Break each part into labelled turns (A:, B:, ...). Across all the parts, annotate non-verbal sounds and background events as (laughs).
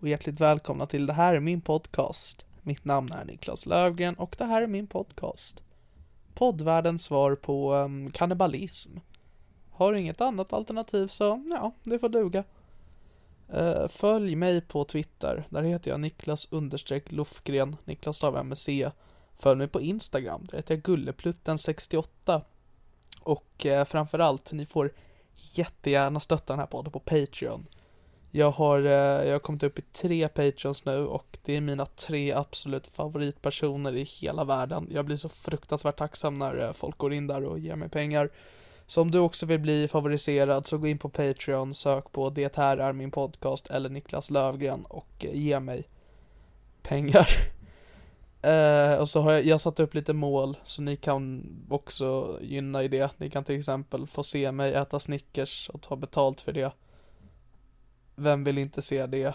A: och hjärtligt välkomna till Det här är min podcast. Mitt namn är Niklas Lövgren och det här är min podcast. Poddvärldens svar på um, kannibalism. Har du inget annat alternativ så, ja, det får duga. Eh, följ mig på Twitter. Där heter jag Niklas understreck Lofgren, Niklas stav med C. Följ mig på Instagram, där heter jag Gulleplutten68. Och eh, framförallt, ni får jättegärna stötta den här podden på Patreon. Jag har, eh, jag har kommit upp i tre patreons nu och det är mina tre absolut favoritpersoner i hela världen. Jag blir så fruktansvärt tacksam när eh, folk går in där och ger mig pengar. Så om du också vill bli favoriserad så gå in på Patreon, sök på Det här är min podcast eller Niklas Lövgren och eh, ge mig pengar. (laughs) Eh, och så har jag, jag satt upp lite mål så ni kan också gynna i det. Ni kan till exempel få se mig äta Snickers och ta betalt för det. Vem vill inte se det?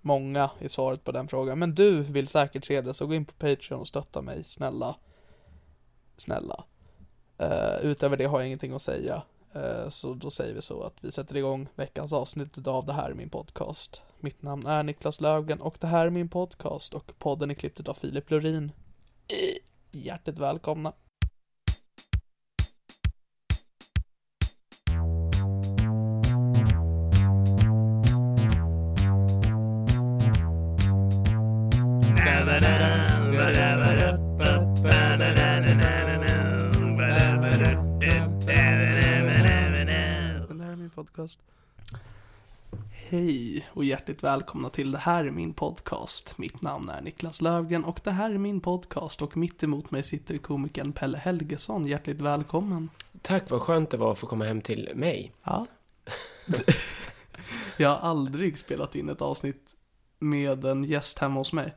A: Många är svaret på den frågan. Men du vill säkert se det så gå in på Patreon och stötta mig, snälla. Snälla. Eh, utöver det har jag ingenting att säga. Eh, så då säger vi så att vi sätter igång veckans avsnitt av Det här är min podcast. Mitt namn är Niklas Löfgren och det här är min podcast och podden är klippt av Filip Lurin. Eh, hjärtligt välkomna. Det här är min podcast. Hej och hjärtligt välkomna till Det här är min podcast. Mitt namn är Niklas Lövgren och det här är min podcast och mitt emot mig sitter komikern Pelle Helgesson. Hjärtligt välkommen.
B: Tack, vad skönt det var att få komma hem till mig.
A: Ja. (laughs) Jag har aldrig spelat in ett avsnitt med en gäst hemma hos mig.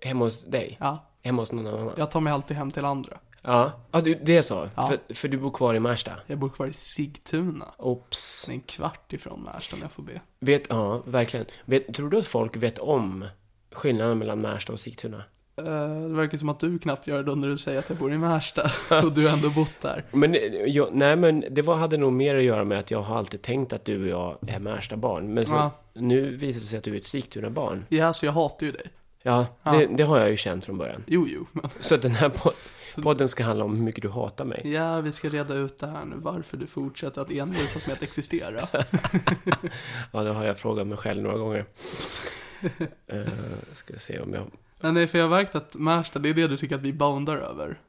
B: Hemma hos dig?
A: Ja,
B: Hemma hos någon annan? Ja.
A: jag tar mig alltid hem till andra.
B: Ja, ah, du, det är så?
A: Ja.
B: För, för du bor kvar i Märsta?
A: Jag bor kvar i Sigtuna.
B: Ops.
A: Det är en kvart ifrån Märsta om jag får be.
B: Vet, ja, verkligen. Vet, tror du att folk vet om skillnaden mellan Märsta och Sigtuna?
A: Eh, Det verkar som att du knappt gör det när du säger att jag bor i (laughs) Märsta och du har ändå bott där.
B: Men, eh, jag, nej, men det var, hade nog mer att göra med att jag har alltid tänkt att du och jag är Märsta-barn. Men så,
A: Ja.
B: nu visar det sig att du är ett Sigtuna-barn.
A: Ja, så jag hatar ju dig.
B: Ja,
A: Ja.
B: Det, det har jag ju känt från början.
A: Jo, jo, men
B: Så att den här pod- podden ska handla om hur mycket du hatar mig.
A: ja, vi ska reda ut det här nu, varför du fortsätter att envisas med att existera.
B: Ja, det har jag frågat mig själv några gånger. (laughs) uh, ska se om jag...
A: Men nej, för jag har märkt att Märsta, det är det du tycker att vi boundar över.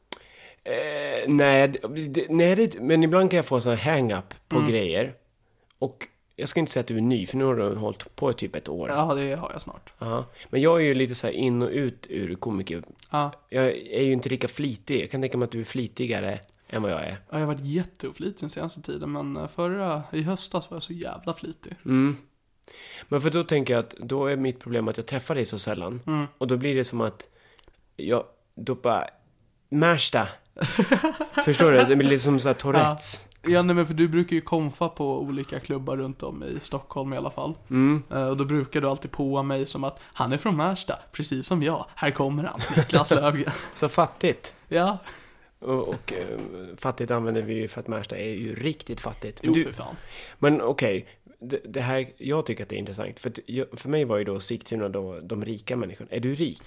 B: Eh, nej, det, det- nej det, men ibland kan jag få sån här hang-up på grejer. Och jag ska inte säga att du är ny, för nu har du hållit på i typ ett år.
A: Ja, det har jag snart.
B: Ja. Men jag är ju lite så här in och ut ur komiker.
A: Ja,
B: Jag är ju inte lika flitig. Jag kan tänka mig att du är flitigare än vad jag är.
A: Ja, jag eh, har varit jätteoflitig den senaste tiden, men förra, i höstas var jag så jävla flitig.
B: Mm. Men för då tänker jag att då är mitt problem att jag träffar dig så sällan.
A: Mm.
B: Och då blir det som att jag, då bara,
A: (laughs)
B: Märsta. Förstår du? Det blir lite som så här Tourettes.
A: Ja, nej, men för du brukar ju konfa på olika klubbar runt om i Stockholm i alla fall. Eh, Och då brukar du alltid påa mig som att han är från Märsta, precis som jag. Här kommer han, Niklas Löfgren.
B: Så fattigt.
A: ja,
B: Och, och eh, fattigt använder vi ju för att Märsta är ju riktigt fattigt.
A: (laughs) jo
B: Men du-
A: för fan.
B: Men okej, det, det här, jag tycker att det är intressant. För, att jag, för mig var ju då Sigtuna då de rika människorna. Är du rik?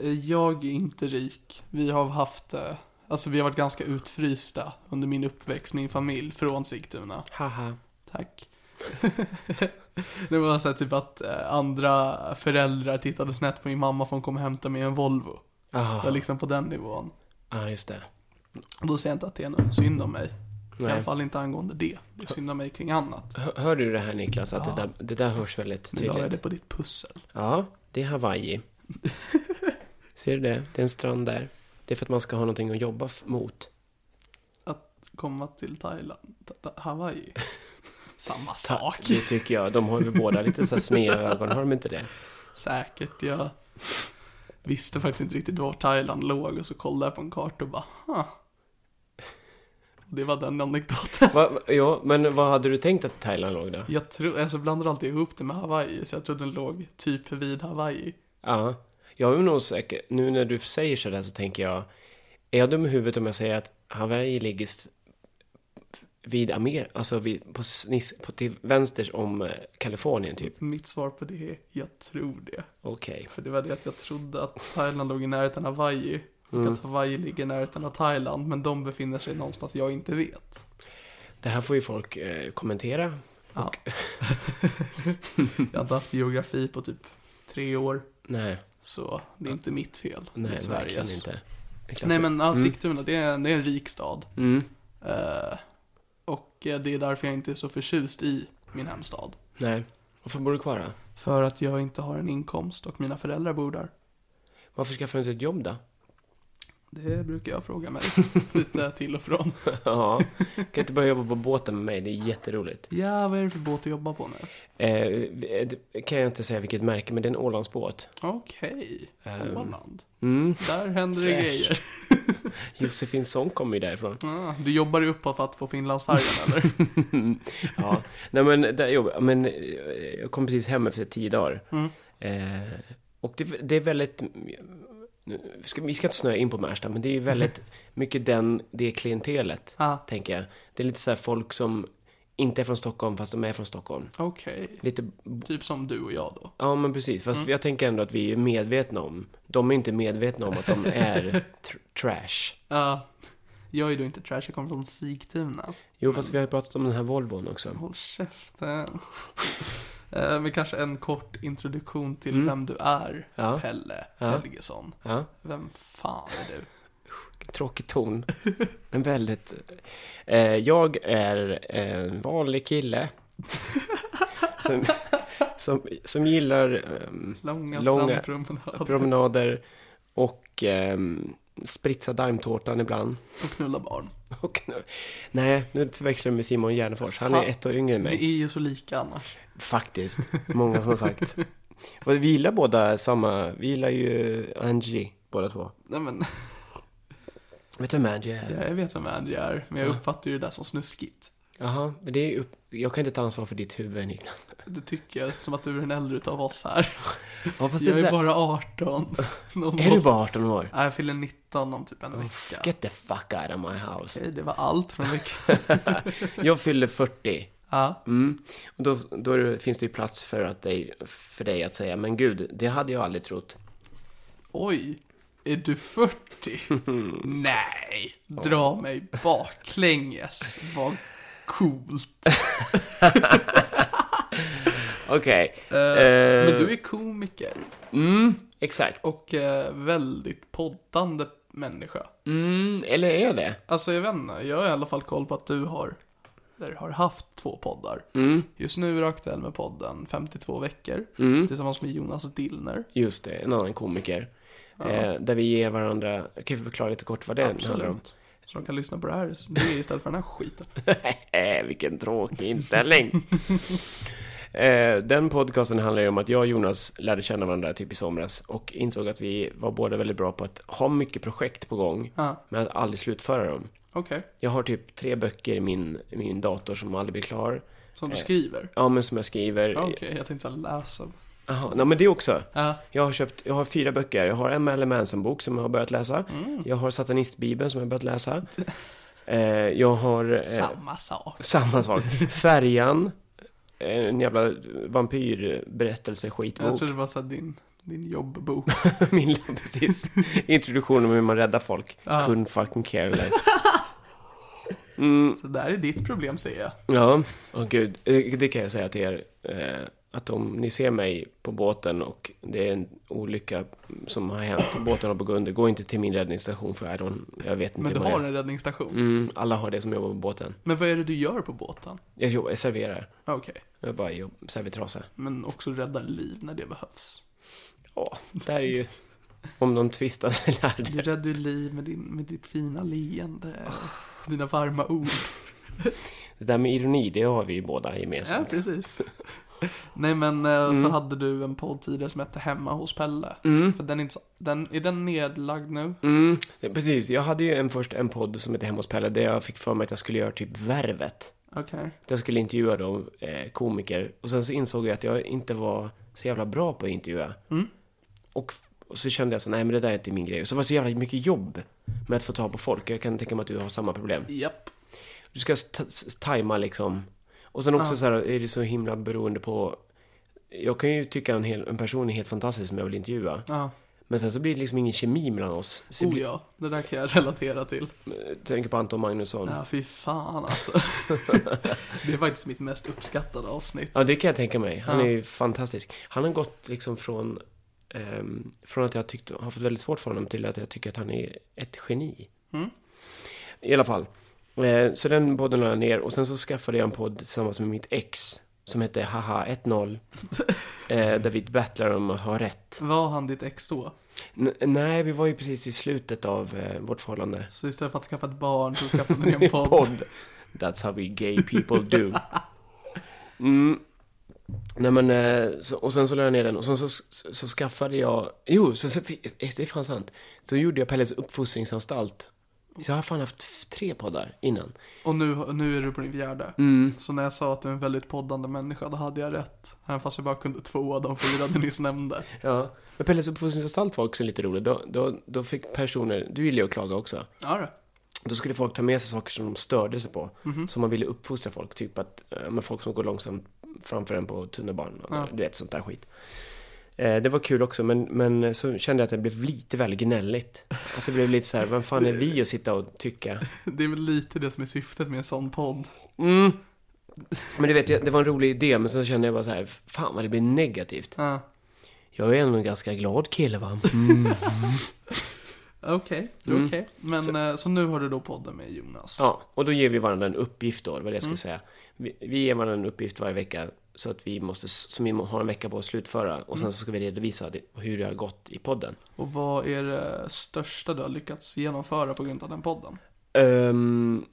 A: Eh, Jag är inte rik. Vi har haft, eh, alltså vi har varit ganska utfrysta under min uppväxt, min familj, från Sigtuna.
B: Haha.
A: Tack. (laughs) det var så här typ att eh, andra föräldrar tittade snett på min mamma för hon kom och hämtade mig i en Volvo. Det var
B: Ja,
A: liksom på den nivån.
B: ah, just det.
A: Och då säger jag inte att det är någon synd om mig. I alla
B: Nej.
A: fall inte angående det. Det är synd om mig kring annat.
B: Hör, hör du det här Niklas? Att det, där, det där hörs väldigt
A: Men idag är
B: tydligt.
A: det på ditt pussel.
B: Ja, det är Hawaii. Ser du det? Det är en strand där. Det är för att man ska ha någonting att jobba f- mot.
A: Att komma till Thailand, Ta- Ta- Hawaii. Samma
B: Ta-
A: sak.
B: Det tycker jag. De har ju båda lite så här sneda ögon, har de inte det?
A: Säkert, jag visste faktiskt inte riktigt var Thailand låg och så kollade jag på en karta och bara, huh. Det var den anekdoten.
B: Va, va- ja, men vad hade du tänkt att Thailand låg då?
A: Jag tror, alltså blandar alltid ihop det med Hawaii, så jag tror den låg typ vid Hawaii.
B: Ja, jag är nog säker. Nu när du säger sådär så tänker jag, är jag dum i huvudet om jag säger att Hawaii ligger st- vid Amerika, alltså vid, på, sniss, på till vänster om eh, Kalifornien typ?
A: Mitt svar på det är, jag tror det.
B: Okej.
A: För det var det att jag trodde att Thailand låg i närheten av Hawaii. Och
B: Mm.
A: att Hawaii ligger i närheten av Thailand, men de befinner sig någonstans jag inte vet.
B: Det här får ju folk eh, kommentera.
A: Ja. (laughs) jag har inte haft geografi på typ tre år,
B: Nej,
A: så det är inte mitt fel. Det är
B: nej, verkligen
A: Sveriges.
B: inte. Niklas,
A: Nej men ja, Sigtuna, det är, det är en rik stad.
B: Mm,
A: Eh, och eh, det är därför jag inte är så förtjust i min hemstad.
B: nej. Varför bor du kvar då?
A: För att jag inte har en inkomst och mina föräldrar bor där.
B: Varför skaffar du inte ett jobb då?
A: Det brukar jag fråga
B: (laughs)
A: mig lite till och från.
B: ja, kan inte börja jobba på båten med mig? Det är jätteroligt.
A: Ja, vad är det för båt du jobbar på nu?
B: Eh, det kan jag inte säga vilket märke, men det är en Ålandsbåt. Eh,
A: Okej, Åland.
B: Mm.
A: Där händer det
B: Ehm, Fräscht.
A: grejer.
B: Josefin Song kommer ju därifrån.
A: Ah, du jobbar ju uppåt för att få Finlandsfärjan
B: (laughs)
A: eller?
B: Ja, nej men, där jobbar, jag. men eh, jag kom precis hem efter tio dagar. Eh, och det, det är väldigt... nu Ska, vi ska inte snöa in på Märsta, men det är ju väldigt mycket den, det klientelet,
A: Ah.
B: tänker jag. Det är lite så här folk som inte är från Stockholm, fast de är från Stockholm.
A: Okej,
B: Lite...
A: typ som du och jag då.
B: Ja, men precis. Fast jag tänker ändå att vi är medvetna om... De är inte medvetna om att de är tr- trash.
A: Ja, Ah, jag är då inte trash, jag kommer från Sigtuna.
B: Jo, fast vi har ju pratat om den här Volvon också.
A: Håll käften. Eh, Men kanske en kort introduktion till vem du är,
B: Mm. Ja.
A: Pelle Helgesson.
B: Ja.
A: Vem fan är du?
B: tråkig ton. Men väldigt... Eh, jag är en vanlig kille. (laughs) Som, som, som gillar ehm,
A: Långa,
B: Långa
A: strandpromenader
B: promenader och um, spritsa daimtårtan ibland.
A: och knulla barn.
B: Och, nu- nej, nu förväxlar jag med Simon Gärdenfors. Han är
A: Fan.
B: ett år yngre än
A: Ni
B: mig.
A: är ju så lika annars.
B: Faktiskt. Många som har sagt. Och vi gillar båda samma... Vi gillar ju Angie, båda två.
A: Nej men,
B: Vet du vem Angie är?
A: ja, Eh, jag vet vem Andy är, men jag uppfattar ju det där som snuskigt.
B: Jaha, men det är upp... Jag kan inte ta ansvar för ditt huvud, Niklas.
A: Det tycker jag, eftersom att du är den äldre utav oss här.
B: Ja, fast
A: Jag
B: det
A: är
B: där...
A: bara
B: (laughs)
A: 18. Någon
B: Är du
A: måste-
B: bara 18 år?
A: Nej, jag fyller 19 om typ en vecka.
B: Get the fuck out of my
A: (laughs)
B: house.
A: Okej, det var allt från
B: (laughs)
A: veckan.
B: Jag fyller 40.
A: Ja,
B: Mm. Och då, då är det- finns det ju plats för, att dig, för dig att säga, men gud, det hade jag aldrig trott.
A: oj. Är du 40?
B: (laughs)
A: Nej, dra mig baklänges. Vad coolt.
B: Okej. Eh,
A: Men du är komiker
B: Mm, exakt.
A: och eh, väldigt poddande människa.
B: Mm, eller är jag det?
A: Alltså jag vet inte, jag har i alla fall koll på att du har, eller har haft två poddar.
B: Mm.
A: Just nu är du aktuell med podden 52 veckor,
B: Mm.
A: tillsammans med Jonas Dillner.
B: Just det, en annan komiker. Eh, där vi ger varandra, kan vi förklara lite kort vad det handlar om? (laughs)
A: Absolut. Så de kan lyssna på det här
B: Eh,
A: det är istället för den här skiten.
B: Vilken tråkig inställning. Eh, den podcasten handlar ju om att jag och Jonas lärde känna varandra typ i somras och insåg att vi var båda väldigt bra på att ha mycket projekt på gång,
A: (laughs) Ja,
B: men att aldrig slutföra dem.
A: okej.
B: Jag har typ tre böcker i min, i min dator som aldrig blir klar.
A: Som du
B: Eh,
A: skriver?
B: Ja, men som jag skriver.
A: Ja, Ah, Okej, jag tänkte såhär läsa.
B: Jaha, nej men det också.
A: Ja,
B: Jag har köpt, jag har fyra böcker. Jag har en Marilyn Manson-bok som jag har börjat läsa.
A: Mm.
B: Jag har Satanistbibeln som jag har börjat läsa. Eh, jag har... eh,
A: samma sak.
B: samma sak. Färjan. eh, En jävla
A: Jag
B: vampyrberättelse-skitbok.
A: trodde det var såhär din, din jobbbok.
B: (laughs) Min, precis. Introduktion om hur man räddar folk.
A: Ja.
B: Couldn't fucking care less. Mm,
A: Så där är ditt problem ser jag.
B: ja, åh gud. Eh, Det kan jag säga till er. eh, Att om ni ser mig på båten och det är en olycka som har hänt och båten har på att gå under, gå inte till min räddningsstation för I don't, jag vet inte
A: Men du
B: vad det
A: har
B: är.
A: en räddningsstation.
B: Mm, alla har det som jobbar på båten.
A: Men vad är det du gör på båten?
B: Jag, jobbar, jag serverar.
A: Ja, Okej,
B: Jag bara jobb, servitrasa.
A: men också räddar liv när det behövs.
B: Ja, det här är
A: (laughs)
B: ju... Om de tvistade lärde.
A: Du räddar ju liv med, din, med ditt fina leende och dina varma ord.
B: Det där med ironi, det har vi ju båda
A: Ja,
B: gemensamt.
A: precis. Nej men eh, så hade du en podd tidigare som hette Hemma hos Pelle. För den är, inte så, den, är den nedlagd nu?
B: Mm, precis. Jag hade ju en, först en podd som hette Hemma hos Pelle där jag fick för mig att jag skulle göra typ Värvet.
A: Okej.
B: Där jag skulle intervjua då, eh, komiker. Och sen så insåg jag att jag inte var så jävla bra på att intervjua.
A: Mm.
B: Och, f- och så kände jag så nej men det där är inte min grej. Och så var det så jävla mycket jobb med att få tag på folk. Jag kan tänka mig att du har samma problem.
A: Japp.
B: Du ska t- s- tajma liksom. Och sen också så här är det så himla beroende på... Jag kan ju tycka en, hel, en person är helt fantastisk som jag vill intervjua.
A: Ja.
B: Men sen så blir det liksom ingen kemi mellan oss. Så det
A: Oh
B: blir,
A: ja, det där kan jag relatera till.
B: jag tänker på Anton Magnusson. Ja.
A: Ja, fy fan (laughs) alltså. det är faktiskt mitt mest uppskattade avsnitt.
B: det kan jag tänka mig. Han
A: Ja.
B: är ju fantastisk. Han har gått liksom från... ehm, från att jag tyckt, har fått väldigt svårt för honom till att jag tycker att han är ett geni. I alla fall. Eh, så den podden la jag ner och sen så skaffade jag en podd tillsammans med mitt ex. Som hette Haha 10. eh, där vi battlar om att ha rätt.
A: Var han ditt ex då?
B: N- nej, vi var ju precis i slutet av eh, vårt förhållande.
A: Så istället för att skaffa ett barn så skaffade ni (laughs) en
B: en
A: podd.
B: podd. That's how we gay people do. Mm. Nej men, eh, så, och sen så la jag ner den och sen så, så, så skaffade jag, jo, så, så, fick- eh, det är fan sant. Så gjorde jag Pelles uppfostringsanstalt. Så jag har fan haft f- tre poddar innan.
A: Och nu, nu är du på din fjärde.
B: Mm.
A: Så när jag sa att du är en väldigt poddande människa, då hade jag rätt. Även fast jag bara kunde två av de fyra du nyss
B: (laughs)
A: nämnde.
B: Ja. Men Pelles uppfostringsanstalt var också lite roligt. Då, då, då fick personer, du gillar ju att klaga också.
A: Ja, då.
B: Då skulle folk ta med sig saker som de störde sig på. Som man ville uppfostra folk. Typ att, eh, men folk som går långsamt framför en på tunnelbanan.
A: Ja.
B: Du vet, sånt där skit. Eh, det var kul också, men, men så kände jag att det blev lite väl gnälligt. Att det blev lite så här, vem fan är vi att sitta och tycka?
A: Det är väl lite det som är syftet med en sån podd.
B: Mm. Men du vet, jag- det var en rolig idé, men sen kände jag bara så här, fan vad det blir negativt.
A: Ja.
B: Jag är ändå en ganska glad kille, va?
A: Okej, det är
B: Mm.
A: okej. Men så. så nu har du då podden med Jonas.
B: Ja, Mm. och då ger vi varandra en uppgift då, det var det jag skulle säga. Vi, vi ger varandra en uppgift varje vecka så att vi måste, som vi må- har en vecka på att slutföra och sen så ska vi redovisa det, hur det har gått i podden.
A: Och vad är det största du har lyckats genomföra på grund av den podden?
B: Ehm,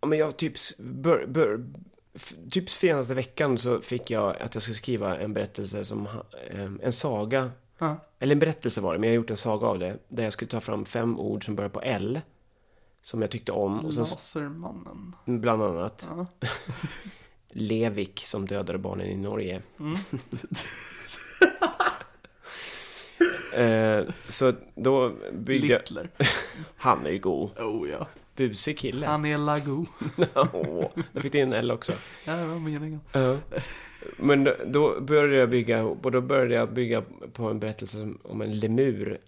B: ja, men jag typ, s- bör, bör, f- typ senaste veckan så fick jag att jag skulle skriva en berättelse som, ha- ehm, en saga,
A: Ja.
B: eller en berättelse var det, men jag har gjort en saga av det, där jag skulle ta fram fem ord som börjar på L, som jag tyckte om, och sen, s-
A: Lasermannen.
B: bland annat,
A: Ja.
B: (laughs) Levik som dödade barnen i Norge.
A: Mm.
B: (laughs) Eh, så då byggde jag...
A: Littler.
B: Han är ju god.
A: Oh
B: (laughs)
A: ja.
B: Busig kille.
A: Han är lago.
B: (laughs) Åh, jag fick in L också.
A: Ja, det var meningen.
B: Ja. Men då- då började jag bygga ihop, och då började jag bygga på en berättelse om- om en lemur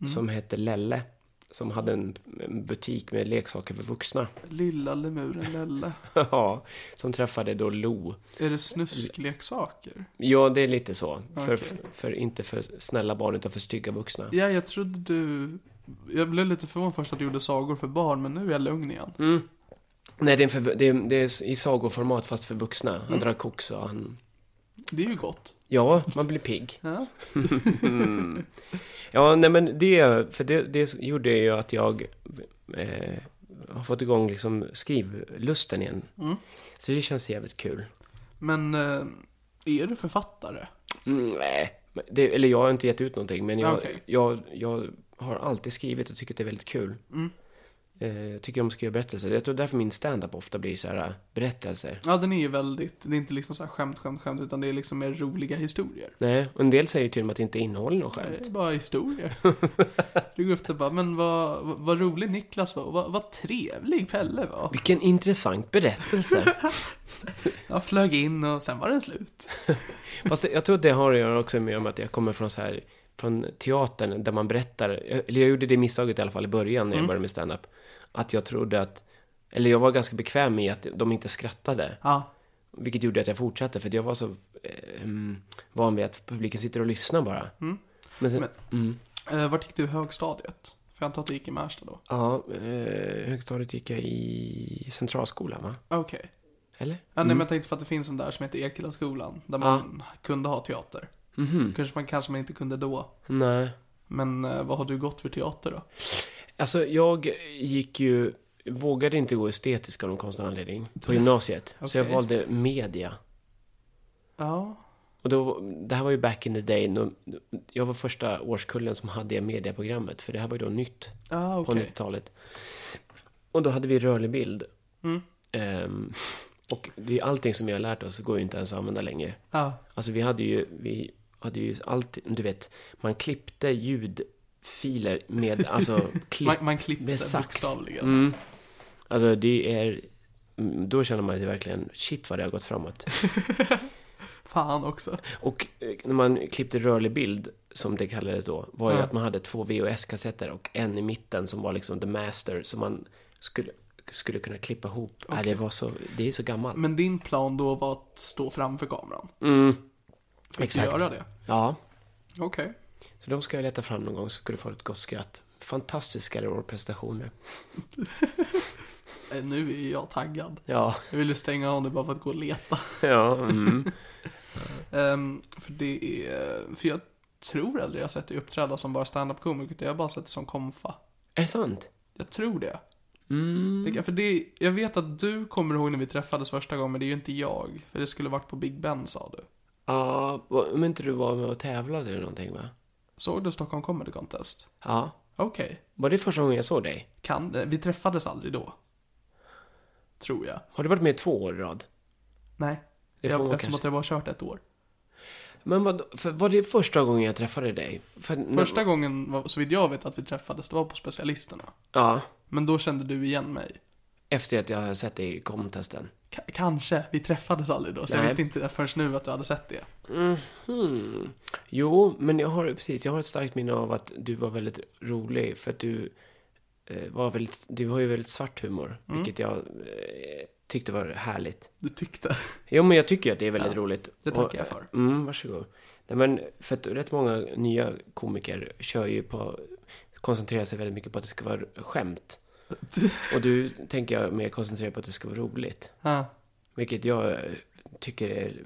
A: Mm.
B: som hette Lelle. Som hade en, en butik med leksaker för vuxna. (laughs)
A: Lilla lemuren Lelle.
B: Ja, som träffade då Lo.
A: Är det snuskleksaker?
B: Ja, det är lite så. För,
A: Okej.
B: för, inte för snälla barn, utan för stygga vuxna.
A: Ja, jag trodde du... Jag blev lite förvånad först att du gjorde sagor för barn, men nu är jag lugn igen.
B: Mm. Nej, det är, en för, det, är, det är i sagoformat fast för vuxna.
A: Mm.
B: Han drar koks och han...
A: Det är ju gott.
B: Ja, man blir pigg.
A: Ja.
B: Mm. Ja, nej men det... För det, det gjorde ju att jag eh, har fått igång
A: Mm.
B: liksom skrivlusten igen. Så det känns jävligt kul.
A: Men eh, Är du författare?
B: Mm, nej, Men det, eller jag har inte gett ut någonting, men jag,
A: Okej.
B: jag, jag har alltid skrivit och tycker att det är väldigt kul.
A: Mm.
B: Eh, tycker om att skriva berättelser. Jag tror därför min stand-up ofta blir så här äh, berättelser.
A: Ja, den är ju väldigt, det är inte liksom så här skämt, skämt, skämt, utan det är liksom mer roliga historier.
B: Nej, och en del säger ju till och med att det inte innehåller något
A: Nej, Det
B: skämt.
A: är bara
B: (laughs)
A: historier. Du går efter och bara, men vad, vad- vad rolig Niklas var och vad, vad trevlig Pelle var.
B: Vilken intressant berättelse. (laughs)
A: Jag flög in och sen var den slut.
B: Fast det- jag tror att det har att göra också med att jag kommer från så här från teatern där man berättar, eller jag gjorde det misstaget i alla fall i början när jag började med stand-up att jag trodde att, eller jag var ganska bekväm i att de inte skrattade,
A: Ja,
B: vilket gjorde att jag fortsatte för att jag var så eh, mm, van vid att publiken sitter och lyssnar bara. Men sen, Mm.
A: eh, vart gick du i högstadiet? För jag antar att du gick i Märsta då?
B: ja, eh, högstadiet gick jag i centralskolan va?
A: Okej.
B: Eller?
A: Ja, nej, men jag tänkte för att det finns en där som heter Ekellaskolan, där man kunde ha teater.
B: Mhm.
A: Kanske, man, kanske man inte kunde då.
B: Nej.
A: Men eh, vad har du gått för teater då?
B: Alltså jag gick ju, vågade inte gå estetisk av någon konstig anledning på gymnasiet. Så jag
A: Okej.
B: valde media.
A: Ja,
B: Och då, det här var ju back in the day. Då, jag var första årskullen som hade mediaprogrammet. För det här var ju då nytt
A: ah,
B: på
A: okej.
B: 90-talet. Och då hade vi rörlig bild.
A: Mm.
B: Ehm, och det är allting som vi har lärt oss går ju inte ens att använda längre.
A: Ja,
B: Alltså vi hade ju, vi hade ju allt, du vet, man klippte ljudfiler med, alltså
A: (laughs)
B: klipp,
A: man, man klippte
B: med sax.
A: bokstavligen.
B: Mm. Alltså det är, mm, då känner man ju verkligen, shit vad det har gått framåt.
A: Fan också.
B: Och eh, när man klippte rörlig bild, som det kallades då, var ju
A: Ja.
B: att man hade två VHS-kassetter och en i mitten som var liksom the master som man skulle, skulle kunna klippa ihop. Nej, det var så, det är så gammalt.
A: Men din plan då var att stå framför kameran?
B: Mm,
A: Fick
B: Exakt.
A: du göra det?
B: ja.
A: Okej.
B: Så de ska jag leta fram någon gång så ska du få ett gott skratt. Fantastiska presentationer.
A: Eh, Nu är jag taggad.
B: Ja.
A: Jag ville stänga av nu bara för att gå och leta.
B: (laughs) Ja. Mm.
A: Ehm, för det är... För jag tror aldrig jag har sett dig uppträda som bara standup-komiker. utan Jag har bara sett dig som komfa.
B: Är det sant?
A: Jag tror det.
B: Mm.
A: Det- För det, jag vet att du kommer ihåg när vi träffades första gången, men det är ju inte jag. För det skulle varit på Big Ben sa du.
B: Ja, vad- om inte du var med och tävlade eller någonting va?
A: Såg du Stockholm Comedy Contest?
B: Ja.
A: Okej.
B: Var det första gången jag såg dig?
A: Kan, eh, vi träffades aldrig då. Tror jag.
B: Har du varit med två år i rad?
A: Nej.
B: Det får
A: jag,
B: man
A: eftersom
B: kanske-
A: att jag bara kört ett år.
B: Men vad, för var det första gången jag träffade dig? För när-
A: Första gången, var- så vitt jag vet att vi träffades, det var på specialisterna.
B: Ja,
A: Men då kände du igen mig.
B: efter att jag hade sett dig i komtesten.
A: K- kanske, vi träffades aldrig då. Så jag
B: Nej.
A: visste inte förrän nu att du hade sett det.
B: Mhm. Jo, men jag har precis, jag har ett starkt minne av att du var väldigt rolig för att du eh, var väldigt, du har ju väldigt svart humor, vilket jag eh, tyckte var härligt.
A: Du tyckte. (laughs)
B: Jo, men jag tycker ju att det är väldigt roligt.
A: det tackar jag för.
B: Mm, varsågod. Nej, men för att rätt många nya komiker kör ju på, koncentrerar sig väldigt mycket på att det ska vara
A: (laughs)
B: skämt. Och du tänker jag mer koncentrera på att det ska vara roligt.
A: Ja.
B: Vilket jag eh, tycker är,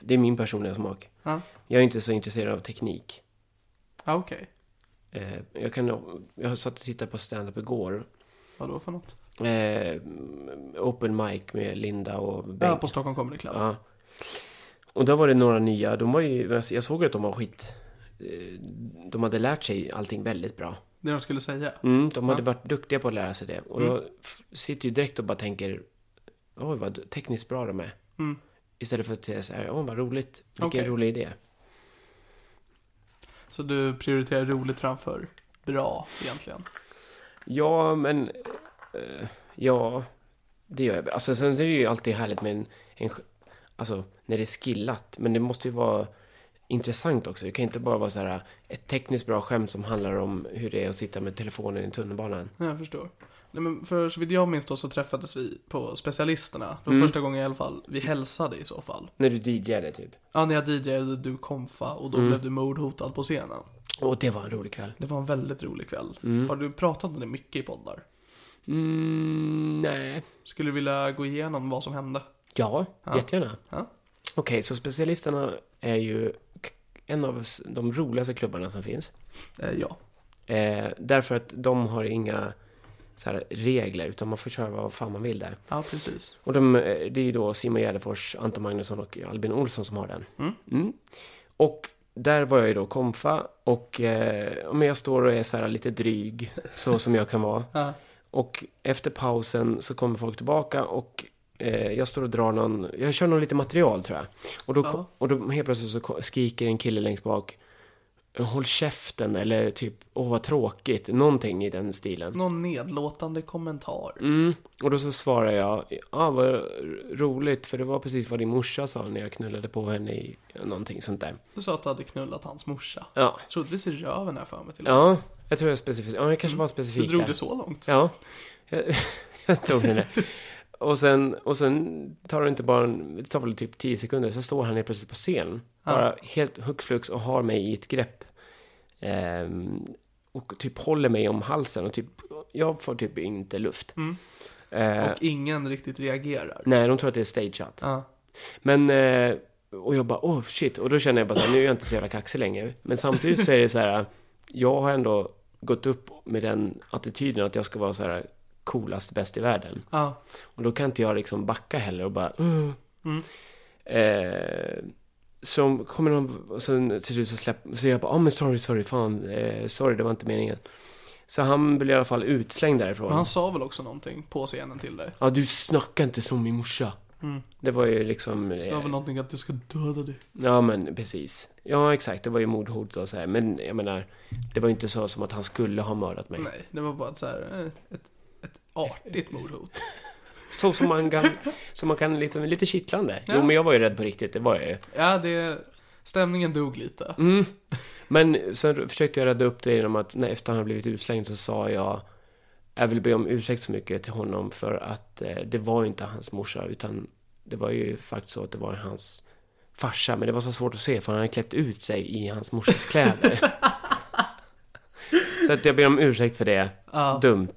B: det är min personliga smak.
A: Ja.
B: Jag är inte så intresserad av teknik.
A: Ja, okej.
B: Eh, Jag, kan, jag satt och tittade på stand-up igår.
A: Vadå för något?
B: Eh, open mic med Linda och Bengt.
A: Ja, på Stockholm Comedy Club.
B: Ja. Och då var det några nya, de var ju, jag såg att de var skit. eh, De hade lärt sig allting väldigt bra.
A: Det de skulle säga.
B: Mm, de hade
A: Ja. Mm.
B: varit duktiga på att lära sig det. Och jag f- sitter ju direkt och bara tänker, oj vad tekniskt bra de är.
A: Mm.
B: Istället för att säga så här, åh vad roligt, vilken
A: Okej.
B: rolig idé.
A: Så du prioriterar roligt framför bra egentligen.
B: Ja, men... eh, ja, det gör jag. Alltså, sen är det ju alltid härligt med en, en... sk- Alltså, när det är skillat. Men det måste ju vara intressant också. Det kan inte bara vara så här eh, ett tekniskt bra skämt som handlar om hur det är att sitta med telefonen i tunnelbanan.
A: Ja, Jag förstår. Nej, men för så vitt jag minns då så träffades vi på specialisterna. Det var
B: Mm.
A: första gången i alla fall vi hälsade i så fall.
B: När du DJade, typ.
A: Ja, när jag DJade du konfa och då
B: Mm.
A: blev du mordhotad på scenen.
B: Och det var en rolig kväll.
A: Det var en väldigt rolig kväll. Har du pratat om det mycket i poddar?
B: Mm, nej.
A: Skulle du vilja gå igenom vad som hände?
B: Ja, jättegärna.
A: Ja.
B: Okej, så specialisterna är ju k- en av s- de roligaste klubbarna som finns.
A: Eh, ja.
B: Eh, därför att de har inga så här regler, utan man får köra vad fan man vill där.
A: Ja, precis.
B: Och de, eh, det är ju då Simon Gärdenfors, Anton Magnusson och Albin Olsson som har den. Mm. Och där var jag ju då komfa och eh, om jag står och är så här lite dryg, så som jag kan vara.
A: (laughs) Ja.
B: Och efter pausen så kommer folk tillbaka och eh, jag står och drar någon, jag kör någon lite material tror jag. Och då,
A: Ja.
B: och då helt plötsligt så ko- skriker en kille längst bak Håll käften eller typ Åh vad tråkigt, någonting i den stilen.
A: Någon nedlåtande kommentar.
B: Mm. Och då så svarar jag, ja ah, vad r- roligt för det var precis vad din morsa sa när jag knullade på henne i någonting sånt där.
A: Du sa att du hade knullat hans morsa.
B: Ja,
A: Troligtvis i röven här för mig till och med.
B: ja jag tror jag specifikt, ja jag kanske var
A: Mm. Du
B: specifik
A: drog
B: där.
A: det så långt?
B: Ja, jag, (laughs) jag tog den där. Och sen, och sen tar det inte bara, en- det tar väl typ 10 sekunder, så står han helt plötsligt på scen. Bara helt hux flux och har mig i ett grepp. Ehm, och typ håller mig om halsen och typ, jag får typ inte luft. Eh,
A: Och ingen riktigt reagerar.
B: nej, de tror att det är stageat.
A: Ja.
B: Men, eh, och jag bara, oh shit. Och då känner jag bara så här, nu är jag inte så jävla kaxig längre. Men samtidigt så är det så här, jag har ändå gått upp med den attityden att jag ska vara så här coolast, bäst i världen.
A: ja.
B: Och då kan inte jag liksom backa heller och bara, uh.
A: Mm.
B: Eh, så kommer någon, och sen till slut så släpper, så jag bara, ah men sorry, sorry, fan, eh, sorry, det var inte meningen. Så han blev i alla fall utslängd därifrån.
A: Men han sa väl också någonting på scenen till dig?
B: Ja, du snackar inte som min morsa. Det var ju liksom...
A: Mm.
B: eh,
A: Det var väl någonting att du ska döda dig.
B: Ja, men precis. Ja, exakt. Det var ju mordhot och så här. Men jag menar, det var ju inte så som att han skulle ha mördat mig.
A: Nej, det var bara ett så här, eh, ett, ett artigt mordhot.
B: Så som
A: (laughs)
B: man kan, som man kan liksom, lite kittlande. Jo,
A: Ja.
B: men jag var ju rädd på riktigt, det var jag ju.
A: Ja, det... Stämningen dog lite.
B: Mm. Men sen försökte jag rädda upp det genom att, när efter han hade blivit utslängd så sa jag, jag vill be om ursäkt så mycket till honom för att eh, det var ju inte hans morsa, utan det var ju faktiskt så att det var hans farsa. Men det var så svårt att se för han hade klätt ut sig i hans morsas kläder. så att jag ber om ursäkt för det.
A: Ja.
B: Dumt.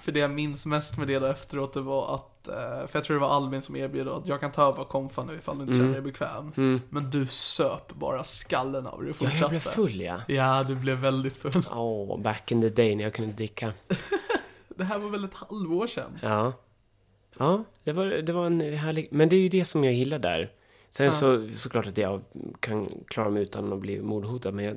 A: För det jag minns mest med det då efteråt, det var att... eh, För jag tror det var Albin som erbjöd att jag kan ta över komfan nu ifall du
B: Mm.
A: inte känner dig bekväm. Men du söp bara skallen av dig och
B: Ja,
A: fortsatte.
B: jag blev full ja.
A: Ja, du blev väldigt full.
B: Åh, back in the day när jag kunde dricka.
A: Det här var väl ett halvår sedan?
B: Ja. Ja, det var, det var en härlig... Men det är ju det som jag gillar där. Sen så såklart att jag kan klara mig utan att bli mordhotad, men jag,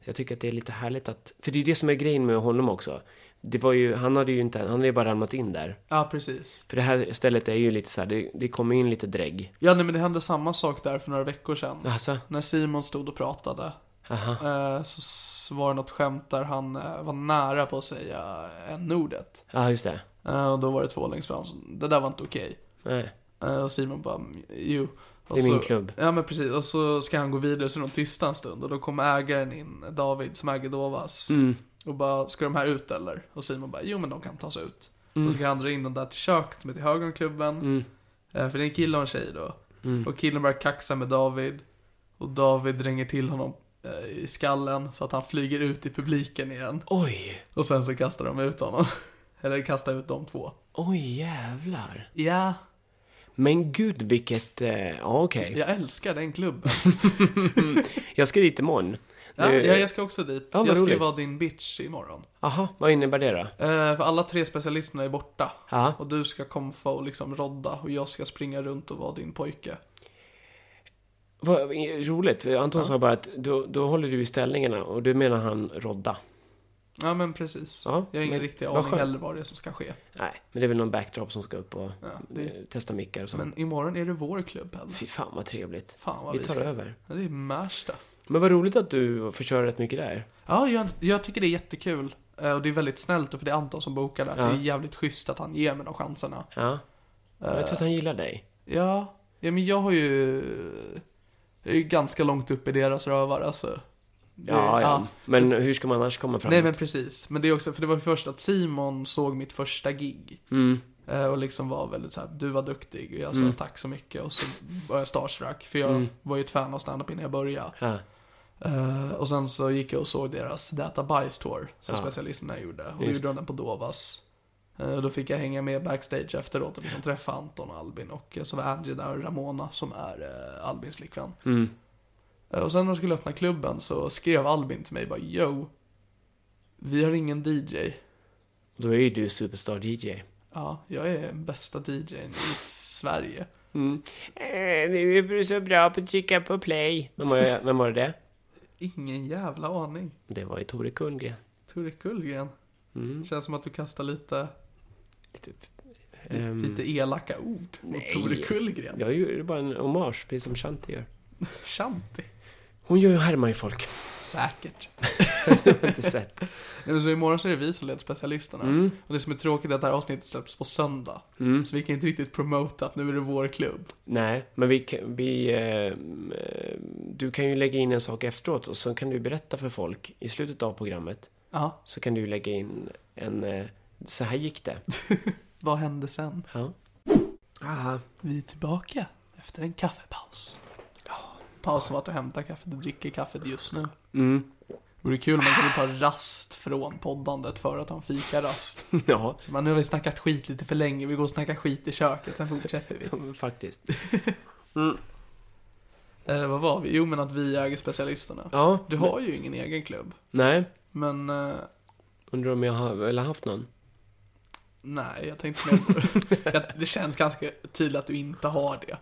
B: jag tycker att det är lite härligt att... För det är ju det som är grejen med honom också. Det var ju, han hade ju inte, han hade ju bara ramlat in där.
A: Ja, precis.
B: För det här stället är ju lite så här, det, det kommer in lite drägg.
A: Ja, nej, men det hände samma sak där för några veckor sedan.
B: Alltså,
A: När Simon stod och pratade
B: aha.
A: eh, så s- var det något skämt där han eh, var nära på att säga n-ordet.
B: Ja, just det.
A: Eh, och då var det två längst fram som, det där var inte okej.
B: Nej.
A: Eh, och Simon bara, "Mm, jo. Och
B: Det är min
A: så,
B: klubb.
A: Ja men precis, och så ska han gå vidare så är de tysta en stund och då kommer ägaren in, David som äger Dovas.
B: Mm.
A: Och bara, ska de här ut eller? Och Simon bara, jo men de kan tas ut.
B: Mm.
A: Och så ska han dra in dem där till köket som är till höger om klubben. Eh, För det är en kille och en tjej då.
B: Mm.
A: Och killen börjar kaxa med David. Och David dränger till honom eh, i skallen så att han flyger ut i publiken igen.
B: Oj!
A: Och sen så kastar de ut honom. (laughs) Eller kastar ut de två.
B: Oj, jävlar.
A: Ja,
B: Men gud vilket... Eh, ja, okej.
A: jag älskar den klubben.
B: Jag ska dit imorgon.
A: Ja,
B: Nu-
A: ja, jag ska också dit.
B: Ja, vad
A: jag ska ju
B: roligt.
A: vara din bitch imorgon.
B: Aha, vad innebär det då?
A: Eh, för alla tre specialisterna är borta.
B: Ja.
A: Och du ska komfa och liksom rodda och jag ska springa runt och vara din pojke.
B: Vad roligt. Anton sa bara att då, då håller du i ställningarna och du menar han rodda.
A: Ja men precis.
B: Ja,
A: jag har ingen
B: men
A: riktig
B: vad
A: aning
B: skönt.
A: heller vad det är som ska ske.
B: Nej, men det är väl någon backdrop som ska upp och
A: det-
B: eh, testa mickar och så.
A: Men imorgon är det vår klubb heller.
B: Fy fan vad trevligt.
A: Fan vad
B: vi
A: vi
B: tar
A: ska-
B: över.
A: Ja, det är Märsta.
B: Men vad roligt att du får köra rätt mycket där.
A: Ja, jag, jag tycker det är jättekul. Eh, Och det är väldigt snällt, och för det är Anton som bokar det. att
B: Ja.
A: Det är jävligt schysst att han ger mig de chanserna.
B: Ja. Jag tror att han gillar dig.
A: Ja, ja men jag har ju... Jag är ju ganska långt upp i deras rövar alltså. Det-
B: Ja, ja. Men hur ska man annars komma fram?
A: Nej men precis, men det är också, för det var ju först att Simon såg mitt första gig.
B: Mm.
A: eh, Och liksom var väldigt såhär, du var duktig och jag sa tack så mycket och så var jag starstruck. För jag var ju ett fan av stand-up innan jag började.
B: Ja.
A: Eh, Och sen så gick jag och såg deras Data Bice Tour som
B: Ja.
A: specialisterna gjorde. Och då
B: Just.
A: gjorde de den på Dovas. Eh, Och då fick jag hänga med backstage efteråt och liksom träffa Anton och Albin. Och eh, så var Angie där och Ramona som är eh, Albins flickvän.
B: Mm.
A: Eh, Och sen när de skulle öppna klubben så skrev Albin till mig bara Yo, vi har ingen DJ.
B: Då är ju du superstar DJ.
A: Ja, jag är bästa DJn i Sverige.
B: Mm.
A: Eh,
B: Äh, du är så bra på att trycka på play. Vem var, vem var det?
A: Ingen jävla aning.
B: Det var ju Tore Kundgren.
A: Tore Kullgren.
B: Mm.
A: Känns som att du kastar lite,
B: Lite, ehm,
A: lite elaka ord mot
B: Nej.
A: Tore Kullgren.
B: Jag gjorde bara en hommage, precis som Shanti gör.
A: Shanti.
B: Hon gör ju härmar ju folk. (laughs)
A: Säkert.
B: Jag har inte sett.
A: Eller så imorgon så är det vi som leder specialisterna.
B: Mm.
A: Och det som är tråkigt är att det här avsnittet släpps på söndag. Så vi kan inte riktigt promota att nu är det vår klubb.
B: Nej, men vi, kan- vi, eh, du kan ju lägga in en sak efteråt och så kan du berätta för folk i slutet av programmet
A: Ja,
B: så kan du lägga in en eh, så här gick det.
A: vad hände sen?
B: Ja. Aha.
A: Vi är tillbaka efter en kaffepaus. Paus som att du hämtar kaffet och dricker kaffet just nu.
B: Mm. (laughs)
A: Vore kul om man kunde ta rast från poddandet för att ha en fikarast.
B: Ja,
A: Så man, nu har vi snackat skit lite för länge, vi går och snackar skit i köket, sen fortsätter vi.
B: faktiskt.
A: Eh, vad var vi? Jo, men att vi äger specialisterna.
B: Ja,
A: Du har ju ingen egen klubb,
B: nej.
A: men eh,
B: Undrar om jag har eller haft någon.
A: nej, jag tänkte mer på Jag- Det känns ganska tydligt att du inte har det.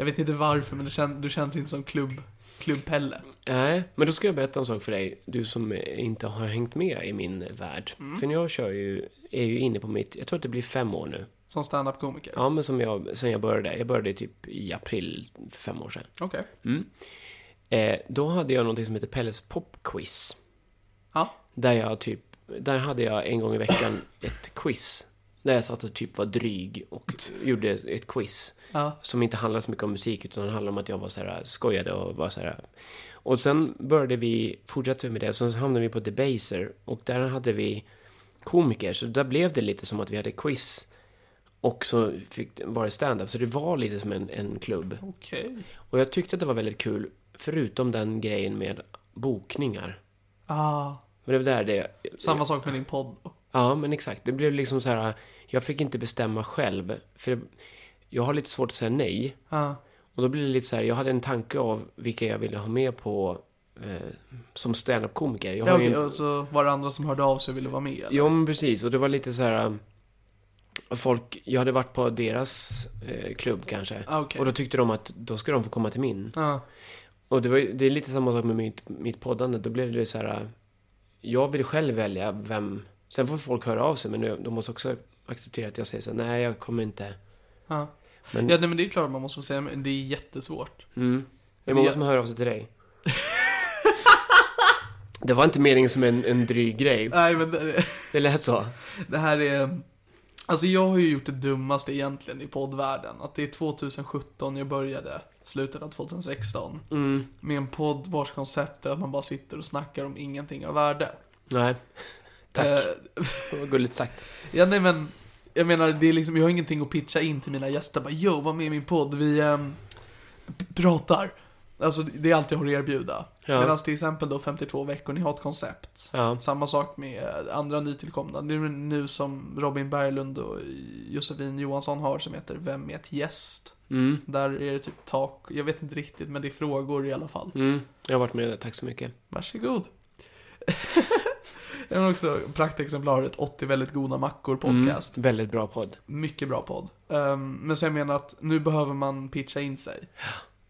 A: Jag vet inte varför, men det kän, du känns inte som klubb, klubbpelle.
B: Nej, men då ska jag berätta en sak för dig. Du som eh, inte har hängt med i min värld. För när jag kör ju, är ju inne på mitt, jag tror att det blir fem år nu.
A: Som standup-komiker.
B: Ja, men som jag, sen jag började. Jag började typ i april för fem år sedan.
A: Okej.
B: Eh, då hade jag någonting som heter Pelles popquiz.
A: Ja.
B: Där jag typ, där hade jag en gång i veckan ett quiz. Där jag satt och typ var dryg och gjorde ett quiz.
A: Ja.
B: Som inte handlade så mycket om musik utan det handlade om att jag var så här skojade och var så här. Och sen började vi, fortsatte vi med det, och sen så hamnade vi på Debaser och där hade vi komiker. Så där blev det lite som att vi hade quiz. Och så fick, var det stand-up. Så det var lite som en, en klubb.
A: Okej.
B: Och jag tyckte att det var väldigt kul, förutom den grejen med bokningar.
A: Ah,
B: Men det var där det...
A: samma sak med din podd. då.
B: Ja, men exakt. Det blev liksom så här, jag fick inte bestämma själv. För jag har lite svårt att säga nej.
A: Ja.
B: Och då blir det lite så här, jag hade en tanke av vilka jag ville ha med på eh, som standup-komiker. Jag
A: Ja,
B: har ju
A: okej,
B: en-
A: och så var det andra som hörde av sig och ville vara med. eller?
B: Jo, men precis. Och det var lite så här... eh, Folk, jag hade varit på deras eh, klubb kanske.
A: Ah, okej.
B: Och då tyckte de att då ska de få komma till min.
A: Ja.
B: Och det, var, ju- det är lite samma sak med mitt, mitt poddande. Då blev det så här... äh, Jag vill själv välja vem... Sen får folk höra av sig, men nu- de måste också acceptera att jag säger så här, nej, jag kommer inte.
A: Ja.
B: Men-
A: ja, nej men det är klart man måste få säga, men det är jättesvårt.
B: Mm. Det
A: Men
B: är många
A: jag-
B: som hör av sig till (laughs) dig. det var inte meningen som en, en dryg grej.
A: Nej men det,
B: Det lät så.
A: det här är... Alltså jag har ju gjort det dummaste egentligen i poddvärlden. Att det är 2017 jag började, slutet av 2016.
B: Mm.
A: Med en podd vars koncept är att man bara sitter och snackar om ingenting av värde.
B: Nej. Tack.
A: Eh,
B: Det var gulligt sagt.
A: ja nej men, jag menar det är liksom, jag har ingenting att pitcha in till mina gäster. Bara yo, var med i min podd, vi ehm, p- pratar. Alltså det är allt jag har att erbjuda.
B: Ja.
A: Medan till exempel då 52 veckor, ni har ett koncept.
B: Ja.
A: Samma sak med andra nytillkomna. Det är nu som Robin Berglund och Josefin Johansson har som heter Vem är ett gäst?
B: Mm.
A: Där är det typ tak, jag vet inte riktigt men det är frågor i alla fall.
B: Mm. Jag har varit med där, tack så mycket.
A: Varsågod.
B: (laughs)
A: jag har också praktexemplaret 80 väldigt goda mackor podcast.
B: Mm. Väldigt bra podd.
A: Mycket bra podd. Ehm, men så jag menar att nu behöver man pitcha in sig.